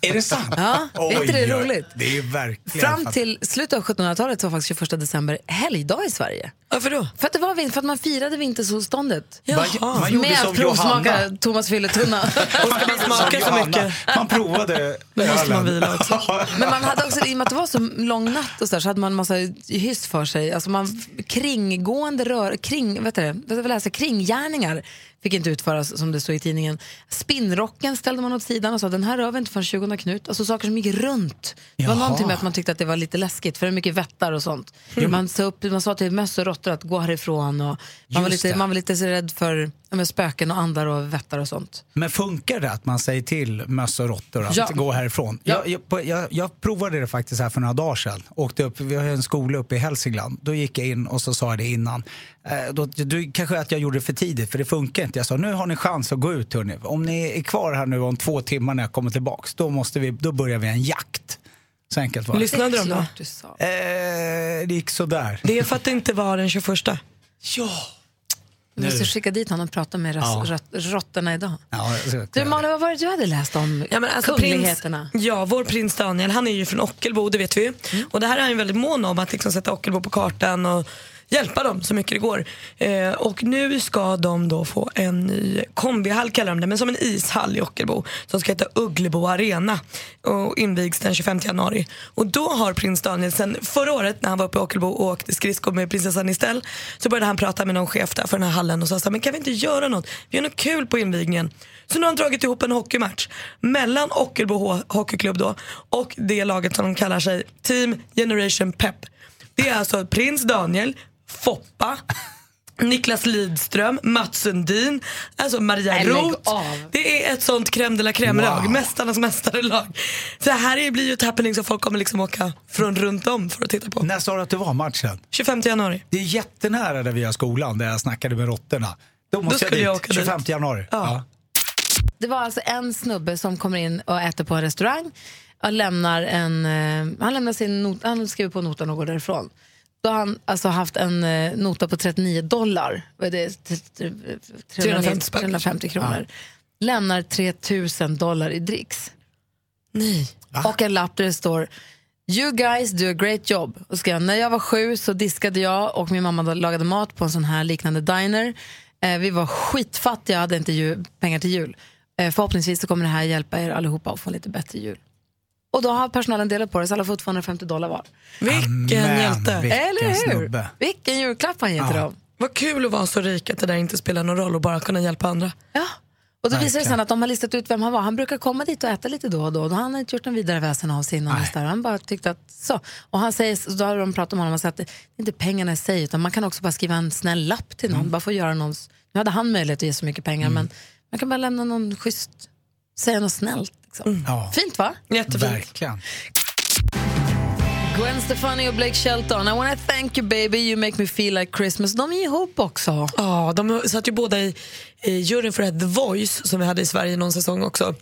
Speaker 5: Är det sant?
Speaker 2: Ja, är inte det
Speaker 5: Oj, oj,
Speaker 2: roligt?
Speaker 5: Det är ju verkligen
Speaker 2: Fram
Speaker 5: fantastiskt.
Speaker 2: till slutet av 1700-talet så var faktiskt 21 december helgdag i Sverige.
Speaker 3: Varför då?
Speaker 2: För att, det var, vin- för att man firade vintersolståndet.
Speaker 5: Man- Jaha. man gjorde
Speaker 2: Med
Speaker 5: som
Speaker 2: att provsmaka
Speaker 5: Johanna.
Speaker 2: Thomas fylletunna.
Speaker 3: smaka så
Speaker 5: Johanna,
Speaker 3: mycket.
Speaker 5: Man provade
Speaker 3: Nu måste man
Speaker 5: ölen.
Speaker 3: vila också.
Speaker 2: Men man hade också, i och med att det var så lång natt och så, där, så hade man massa hyss för sig. Alltså man, kringgående rör, kring, vet du det, vet du vad jag läser, kringgärningar fick inte utföras som det står i tidningen. Spinnrocken ställde man åt sidan och sa den här rör vi inte förrän 20 Knut. Alltså saker som gick runt. Det var
Speaker 4: Jaha.
Speaker 2: någonting med att man tyckte att det var lite läskigt för det är mycket vättar och sånt.
Speaker 5: Mm.
Speaker 2: Man, sa upp, man sa till möss och råttor att gå härifrån och man var,
Speaker 5: Just
Speaker 2: lite,
Speaker 5: det.
Speaker 2: man var lite så rädd för ja, men spöken och andar och vättar och sånt.
Speaker 5: Men funkar det att man säger till möss och råttor att
Speaker 2: Ja.
Speaker 5: gå härifrån?
Speaker 2: Ja.
Speaker 5: Jag, jag, på- jag, jag provade det faktiskt här för några dagar sedan. Åkte upp, vi har ju en skola uppe i Hälsingland. Då gick jag in och så sa jag det innan. Eh, då, då, kanske att jag gjorde det för tidigt för det funkar inte. Jag sa nu har ni chans att gå ut hörni. Om ni är kvar här nu om två timmar när jag kommer tillbaks då, måste vi, då börjar vi en jakt. Så enkelt var det.
Speaker 3: Lyssnade de då?
Speaker 2: Du sa.
Speaker 5: Eh, det gick sådär.
Speaker 3: Det är för att det inte var den 21.
Speaker 5: Ja.
Speaker 2: Vi måste skicka dit honom och prata med
Speaker 3: Ja.
Speaker 2: ras- rött- råttorna idag.
Speaker 5: Ja, så-
Speaker 2: Du Malin, vad var det du hade läst om
Speaker 3: Ja, men alltså
Speaker 2: kungligheterna?
Speaker 3: Prins, ja, vår prins Daniel, han är ju från Ockelbo, det vet vi ju. Och det här är han ju väldigt mån om, att liksom sätta Ockelbo på kartan och hjälpa dem så mycket det går. Eh, och nu ska de då få en ny kombihall kallar de det, men som en ishall i Ockelbo som ska heta Ugglebo Arena och invigs den 25 januari. Och då har prins Daniel sen förra året när han var uppe i Ockelbo och åkte skridskor med prinsessan Estelle så började han prata med någon chef där för den här hallen och sa så här, men kan vi inte göra något? Vi gör något kul på invigningen. Så nu har han dragit ihop en hockeymatch mellan Ockelbo H- Hockeyklubb då och det laget som de kallar sig Team Generation Pep. Det är alltså prins Daniel, Foppa, Niklas Lidström, Mats Sundin, alltså Maria
Speaker 2: Nej, lägg
Speaker 3: Roth.
Speaker 2: av.
Speaker 3: Det är ett sånt crème de la crème-lag.
Speaker 2: Wow.
Speaker 3: Mästarnas mästare-lag. Så det här är- blir ju ett happening som folk kommer liksom åka från runt om för att titta på.
Speaker 5: När sa du att det var matchen?
Speaker 3: 25 januari.
Speaker 5: Det är jättenära där vi har skolan, där jag snackade med råttorna. Då måste
Speaker 3: skulle
Speaker 5: jag
Speaker 3: jag
Speaker 5: dit,
Speaker 3: åka dit.
Speaker 5: 25 januari. Ja.
Speaker 2: Det var alltså en snubbe som kommer in och äter på en restaurang. Och lämnar en, eh, han, lämnar sin not, han skriver på notan och går därifrån. Då har han alltså haft en eh, nota på 39 dollar. Vad är det? T- t- 350, 350 kronor. Lämnar 3000 dollar i dricks.
Speaker 3: Nej.
Speaker 2: Och en lapp där det står You guys do a great job. Och ska jag, när jag var sju så diskade jag och min mamma lagade mat på en sån här liknande diner. Eh, vi var skitfattiga, hade inte ju, pengar till jul. Eh, förhoppningsvis så kommer det här hjälpa er allihopa att få en lite bättre jul. Och då har personalen delat på det så alla får 250 dollar var.
Speaker 3: Vilken
Speaker 2: Amen,
Speaker 3: hjälte.
Speaker 2: vilken Eller hur? snubbe. Vilken julklapp han ger till dem.
Speaker 3: Vad kul att vara så rik att det där inte spelar någon roll och bara kunna hjälpa andra.
Speaker 2: Och då visar det sen att de har listat ut vem han var. Han brukar komma dit och äta lite då och då. då han har inte gjort någon vidare väsen av sig innan. dess Där. Han bara tyckte att så. Och han säger, så då har de pratat om honom och sagt att det är inte pengarna i sig utan man kan också bara skriva en snäll lapp till någon. Bara för att göra någons... Nu hade han möjlighet att ge så mycket pengar men man kan bara lämna någon schysst, säga något snällt. Liksom.
Speaker 10: Mm.
Speaker 5: Ja.
Speaker 2: Fint va?
Speaker 5: Verkligen.
Speaker 2: Gwen Stefani och Blake Shelton, I wanna thank you baby, you make me feel like Christmas. De är ihop också.
Speaker 3: Ja, de satt ju båda i, i juryn för det här The Voice som vi hade i Sverige någon säsong också.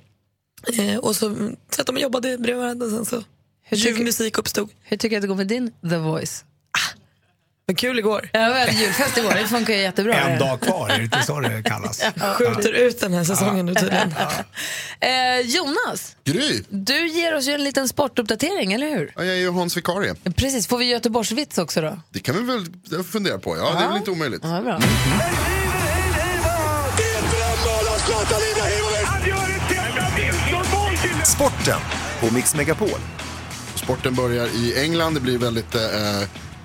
Speaker 3: Eh, och så satt de och jobbade bredvid varandra sen så
Speaker 2: Hur
Speaker 3: tjuvmusik
Speaker 2: tycker-
Speaker 3: musik uppstod.
Speaker 2: Hur tycker jag att det går med din The Voice?
Speaker 3: Ah. Men kul igår.
Speaker 2: Ja, vi hade julfest igår. Det funkar ju jättebra.
Speaker 5: En
Speaker 2: det.
Speaker 5: dag kvar, är det inte så det kallas?
Speaker 3: Skjuter ut den här säsongen nu tydligen.
Speaker 2: Eh, Jonas,
Speaker 8: Gry!
Speaker 2: du ger oss ju en liten sportuppdatering, eller hur?
Speaker 8: Ja, jag är ju Hans vikarie.
Speaker 2: Precis, får vi Göteborgsvits också då?
Speaker 8: Det kan vi väl fundera på. Ja, det är väl inte omöjligt.
Speaker 2: Ja, bra.
Speaker 9: Sporten på Mix Megapol.
Speaker 8: Sporten börjar i England. Det blir väldigt eh,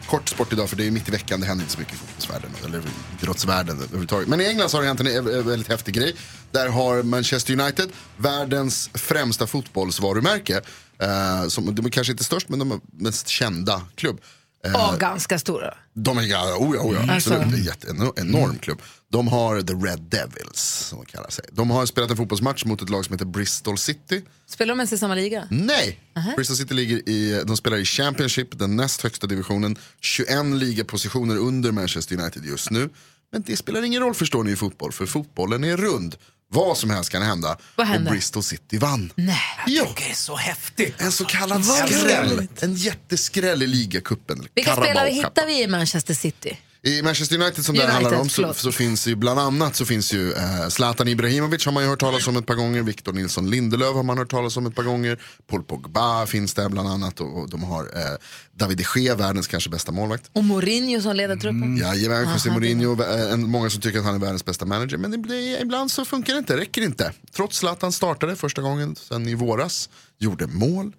Speaker 8: kort sport idag för det är mitt i veckan. Det händer inte så mycket i fotbollsvärlden eller idrottsvärlden överhuvudtaget. Men i England så har det hänt en eh, väldigt häftig grej. Där har Manchester United världens främsta fotbollsvarumärke. Eh, som, de är kanske inte störst men de är mest kända klubb. Eh,
Speaker 2: Ja, ganska stora.
Speaker 8: de är, ja, oh ja, oh ja,
Speaker 2: Mm.
Speaker 8: absolut.
Speaker 2: Alltså.
Speaker 8: Det är en jätte- en enorm klubb. De har The Red Devils, som de kallar sig. De har spelat en fotbollsmatch mot ett lag som heter Bristol City.
Speaker 2: Spelar de ens i samma liga?
Speaker 8: Nej!
Speaker 2: Aha.
Speaker 8: Bristol City ligger i, de spelar i Championship, den näst högsta divisionen. 21 ligapositioner under Manchester United just nu. Men det spelar ingen roll förstår ni i fotboll, för fotbollen är rund. Vad som helst kan hända.
Speaker 2: Vad hände?
Speaker 8: Och Bristol City vann.
Speaker 2: Nej.
Speaker 8: Jo,
Speaker 5: Det är så häftigt.
Speaker 8: en så kallad
Speaker 2: Vad
Speaker 8: skräll.
Speaker 2: roligt.
Speaker 8: En jätteskräll i ligacupen.
Speaker 2: Vilka
Speaker 8: Carabao
Speaker 2: spelare
Speaker 8: Cup.
Speaker 2: hittar vi i Manchester City?
Speaker 8: I Manchester United som det
Speaker 2: United,
Speaker 8: handlar om så,
Speaker 2: förlåt.
Speaker 8: så finns ju bland annat så finns ju eh, Zlatan Ibrahimovic har man ju hört talas om ett par gånger. Victor Nilsson Lindelöf har man hört talas om ett par gånger. Paul Pogba finns där bland annat och, och de har eh, David de Gea, världens kanske bästa målvakt.
Speaker 2: Och Mourinho som leder truppen?
Speaker 8: Mm, Jajamän, José
Speaker 2: Mm. Aha,
Speaker 8: Mourinho, eh, en- många som tycker att han är världens bästa manager. Men det, blir- ibland så funkar det inte, räcker inte. Trots att han startade första gången sen i våras, gjorde mål.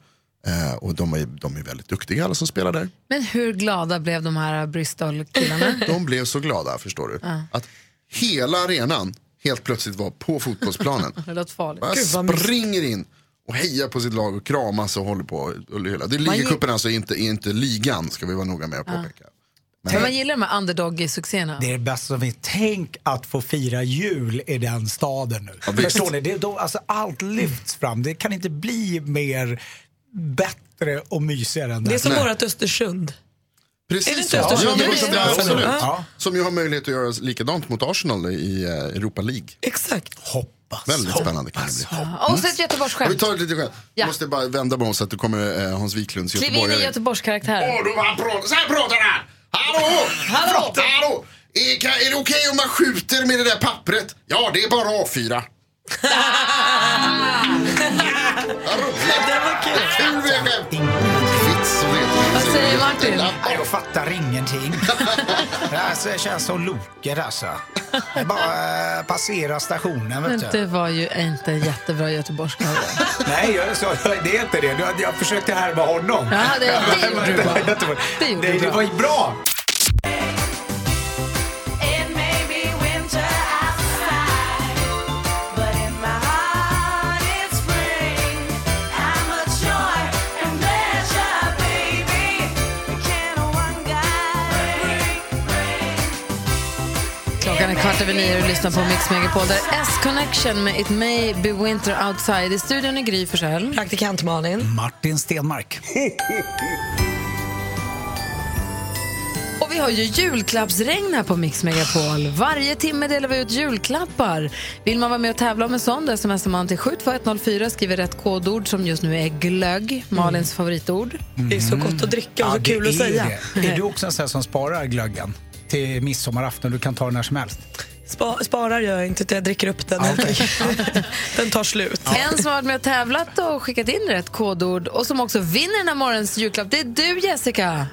Speaker 8: Eh, och de är, de är väldigt duktiga alla som spelar där.
Speaker 2: Men hur glada blev de här Bristol-killarna?
Speaker 8: De blev så glada, förstår du.
Speaker 2: Ja.
Speaker 8: Att hela arenan helt plötsligt var på fotbollsplanen.
Speaker 2: det låter farligt.
Speaker 8: Man springer in och hejar på sitt lag och kramas och håller på. Och hylla. Det är
Speaker 2: Man
Speaker 8: ligacupen alltså, inte, inte ligan ska vi vara noga med att påpeka.
Speaker 2: Men man gillar de här underdog-succéerna.
Speaker 5: Det är det bästa som finns. Tänk att få fira jul i den staden nu.
Speaker 8: Ja, visst.
Speaker 5: Förstår ni? Det, är då, alltså, allt lyfts fram. Det kan inte bli mer bättre och mysigare än
Speaker 3: Det är som
Speaker 5: Nej.
Speaker 3: vårat Östersund.
Speaker 8: Precis
Speaker 3: Är det inte
Speaker 8: så. Ja,
Speaker 3: Östersund?
Speaker 8: men
Speaker 3: Det är
Speaker 8: visst,
Speaker 3: det.
Speaker 8: ja, absolut.
Speaker 5: Ja.
Speaker 8: Som ju har möjlighet att göra likadant mot Arsenal i eh, Europa League.
Speaker 3: Exakt.
Speaker 5: Hoppas.
Speaker 8: Väldigt spännande kan det bli.
Speaker 2: Och så ett
Speaker 8: Ja, Vi
Speaker 2: Göteborgsskämt.
Speaker 8: tar ett litet skämt.
Speaker 2: Ja.
Speaker 8: Jag måste bara vända på oss så att det kommer eh, Hans Wiklunds
Speaker 2: Kliv in i
Speaker 8: göteborgare.
Speaker 2: Göteborgskaraktär.
Speaker 8: Åh, då han pratar, så här pratar han! Hallå! Hallå! Hallå! Är, kan, är det okej om man skjuter med det där pappret? Ja, det är bara A4.
Speaker 3: Det var kul.
Speaker 8: Kul med skämt! Vits och det.
Speaker 2: Vad säger Martin?
Speaker 5: Nej, jag fattar ingenting. alltså, jag känns som Loker alltså. Jag bara eh, passera stationen
Speaker 2: Men typ.
Speaker 5: vet
Speaker 2: det
Speaker 5: du.
Speaker 2: var ju inte jättebra göteborgskaraktär.
Speaker 5: Nej, jag, så, det är inte det. Jag, jag försökte härma honom.
Speaker 2: Ja, det- det gjorde du bra. Det gjorde du
Speaker 5: det, det
Speaker 2: bra.
Speaker 5: var ju bra.
Speaker 10: It may be winter outside, but in my heart it's spring. I'm a joy and pleasure, baby. Can one guy
Speaker 2: Klockan är kvart över nio och du lyssnar på Mix Megapol. Där är S-Connection med It May Be Winter Outside. I studion är Gry Forssell.
Speaker 3: Praktikant Malin.
Speaker 5: Martin Stenmark.
Speaker 2: Och vi har ju julklappsregn här på Mix Megapol. Varje timme delar vi ut julklappar. Vill man vara med och tävla om en sån, då smsar man till 72104, skriver rätt kodord som just nu är glögg,
Speaker 3: Mm.
Speaker 2: Malins favoritord.
Speaker 3: Det är så gott att dricka och så
Speaker 5: det
Speaker 3: kul att
Speaker 5: är
Speaker 3: säga.
Speaker 5: Det. Är du också en sån här som sparar glöggen till midsommarafton? Du kan ta den när som helst.
Speaker 3: Spa, sparar gör jag inte, utan jag dricker upp den. den tar slut.
Speaker 2: En som har varit med och tävlat och skickat in rätt kodord och som också vinner den här morgonens julklapp, det är du Jessica.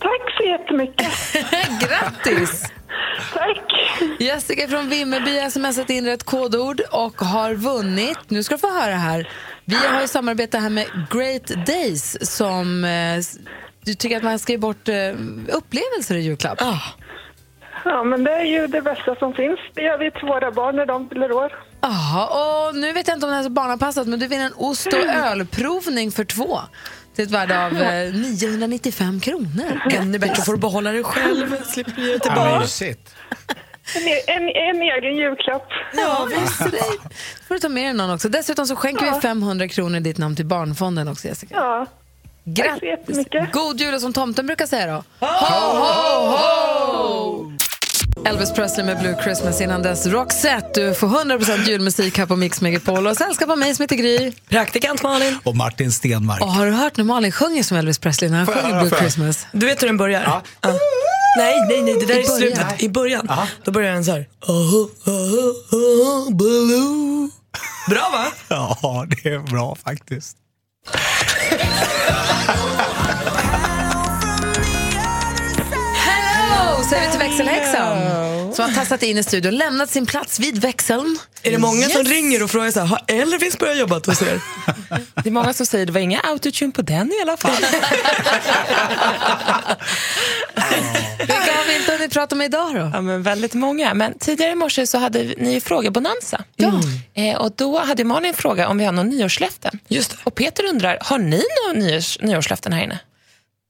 Speaker 16: Tack så jättemycket.
Speaker 2: Grattis!
Speaker 16: Tack.
Speaker 2: Jessica från Vimmerby har smsat in rätt kodord och har vunnit. Nu ska du få höra här. Vi har ju samarbete här med Great Days som eh, s- du tycker att man ska ge bort eh, upplevelser i julklapp. Ja,
Speaker 16: Ja, men det är ju det bästa som finns. Det gör vi till våra barn när de fyller år.
Speaker 2: Jaha, och nu vet jag inte om det här är så barnanpassat men du vinner en ost och ölprovning för två till ett värde av eh, 995 kronor.
Speaker 3: Ännu bättre får du behålla det själv. Slipper ge det till
Speaker 5: Ja,
Speaker 3: barn.
Speaker 5: mysigt.
Speaker 16: En, e- en, en egen julklapp.
Speaker 2: Ja, visst är det. får du ta med dig någon också. Dessutom så skänker vi 500 kronor i ditt namn till Barnfonden också, Jessica.
Speaker 16: Ja. Tack så jättemycket.
Speaker 2: God jul och som tomten brukar säga då. Ho, ho, ho! Elvis Presley med Blue Christmas innan dess. Roxette, du får 100% julmusik här på Mix Megapol. Och sällskap av mig som heter Gry.
Speaker 3: Praktikant Malin.
Speaker 5: Och Martin Stenmark.
Speaker 2: Och har du hört när Malin sjunger som Elvis Presley när han
Speaker 5: Får jag
Speaker 2: sjunger
Speaker 5: höra,
Speaker 2: Blue
Speaker 5: får jag?
Speaker 2: Christmas?
Speaker 3: Du vet hur den börjar? Ja. Nej, nej, nej, det där
Speaker 2: I
Speaker 3: är i slutet.
Speaker 2: början.
Speaker 3: I början. Då börjar den så här. Oh, oh, oh, oh, blue. Bra va?
Speaker 5: Ja, det är bra faktiskt.
Speaker 2: Hello! Säger vi till växelhäxan. Som har tassat in i studion och lämnat sin plats vid växeln.
Speaker 3: Är det många som
Speaker 2: Yes.
Speaker 3: ringer och frågar så här, har Elvis börjat jobba hos er?
Speaker 4: Det är många som säger det var inga autotune på den i alla fall.
Speaker 2: Vilka har vi inte hunnit prata med idag då?
Speaker 4: Ja, men väldigt många. Men tidigare i morse så hade vi- ni ju frågebonanza. Ja. Eh, och då hade Malin en fråga om vi har någon nyårslöften. Just Och Peter undrar, har ni några nyårs, nyårslöften här inne?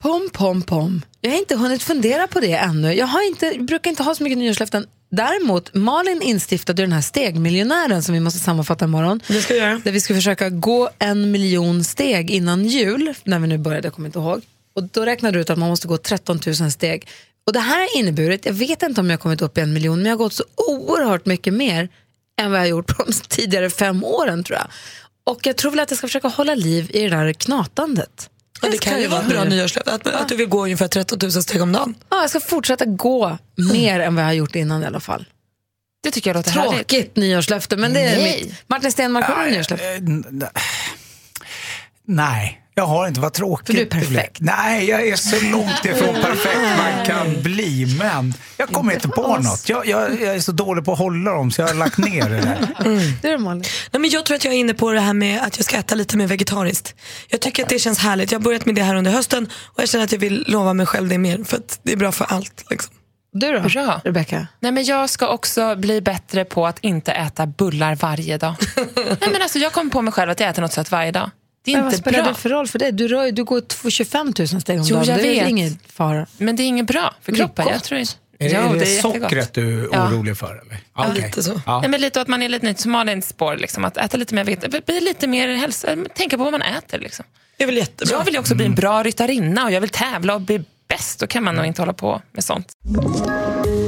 Speaker 2: Pom, pom, pom. Jag har inte hunnit fundera på det ännu. Jag har inte, brukar inte ha så mycket nyårslöften. Däremot, Malin instiftade ju den här stegmiljonären som vi måste sammanfatta imorgon.
Speaker 3: Det ska jag göra.
Speaker 2: Där vi skulle försöka gå en miljon steg innan jul, när vi nu började, jag kommer inte ihåg. Och då räknade du ut att man måste gå 13 000 steg. Och det här har inneburit, jag vet inte om jag har kommit upp i en miljon, men jag har gått så oerhört mycket mer än vad jag har gjort på de tidigare fem åren tror jag. Och jag tror väl att jag ska försöka hålla liv i det där knatandet.
Speaker 3: Ja, det kan ju vara ett bra nyårslöfte, att, att du vill gå ungefär 13 000 steg om dagen.
Speaker 2: Ja, jag ska fortsätta gå mer än vad jag har gjort innan i alla fall.
Speaker 4: Det tycker jag låter
Speaker 2: Tråkigt nyårslöfte, men det är
Speaker 4: Nej.
Speaker 2: mitt. Martin Stenmarck, har du nyårslöfte?
Speaker 5: Eh, n- n- Nej, jag har inte. Vad tråkigt. För du är perfekt. Nej, jag är så långt ifrån perfekt man kan bli. Men jag kommer inte på något. Jag, jag, jag är så dålig på att hålla dem så jag har lagt ner det där.
Speaker 2: Du då Malin?
Speaker 3: Mm. Nej, men jag tror att jag är inne på det här med att jag ska äta lite mer vegetariskt. Jag tycker att det känns härligt. Jag har börjat med det här under hösten och jag känner att jag vill lova mig själv det mer för att det är bra för allt. Liksom.
Speaker 2: Du då,
Speaker 4: Bra.
Speaker 2: Rebecka?
Speaker 4: Nej, men jag ska också bli bättre på att inte äta bullar varje dag. Nej, men alltså, jag kommer på mig själv att jag äter något sött varje dag. Det är
Speaker 2: Men vad
Speaker 4: inte
Speaker 2: spelar
Speaker 4: bra.
Speaker 2: det för roll för dig? Du, rör, du går två- 25 000 steg om
Speaker 4: Jo,
Speaker 2: dagen.
Speaker 4: jag
Speaker 2: det är
Speaker 4: vet.
Speaker 2: ingen fara.
Speaker 4: Men det är inget bra för
Speaker 2: Det är
Speaker 4: kroppen.
Speaker 2: gott.
Speaker 4: Jag tror inte.
Speaker 5: Är det,
Speaker 4: Ja,
Speaker 5: är det,
Speaker 4: jättegott.
Speaker 5: sockret du är
Speaker 4: Ja.
Speaker 5: orolig för? Eller?
Speaker 4: Ja,
Speaker 5: Okej.
Speaker 4: lite så.
Speaker 5: Ja.
Speaker 4: Nej, men lite att man är lite nytt, som Malins spår, liksom, att äta lite mer veget- bli lite mer hälsa, tänka på vad man äter. Liksom.
Speaker 3: Det är väl jättebra.
Speaker 4: Jag vill ju också
Speaker 5: Mm.
Speaker 4: bli en bra ryttarinna och jag vill tävla och bli bäst. Då kan man nog inte hålla på med sånt.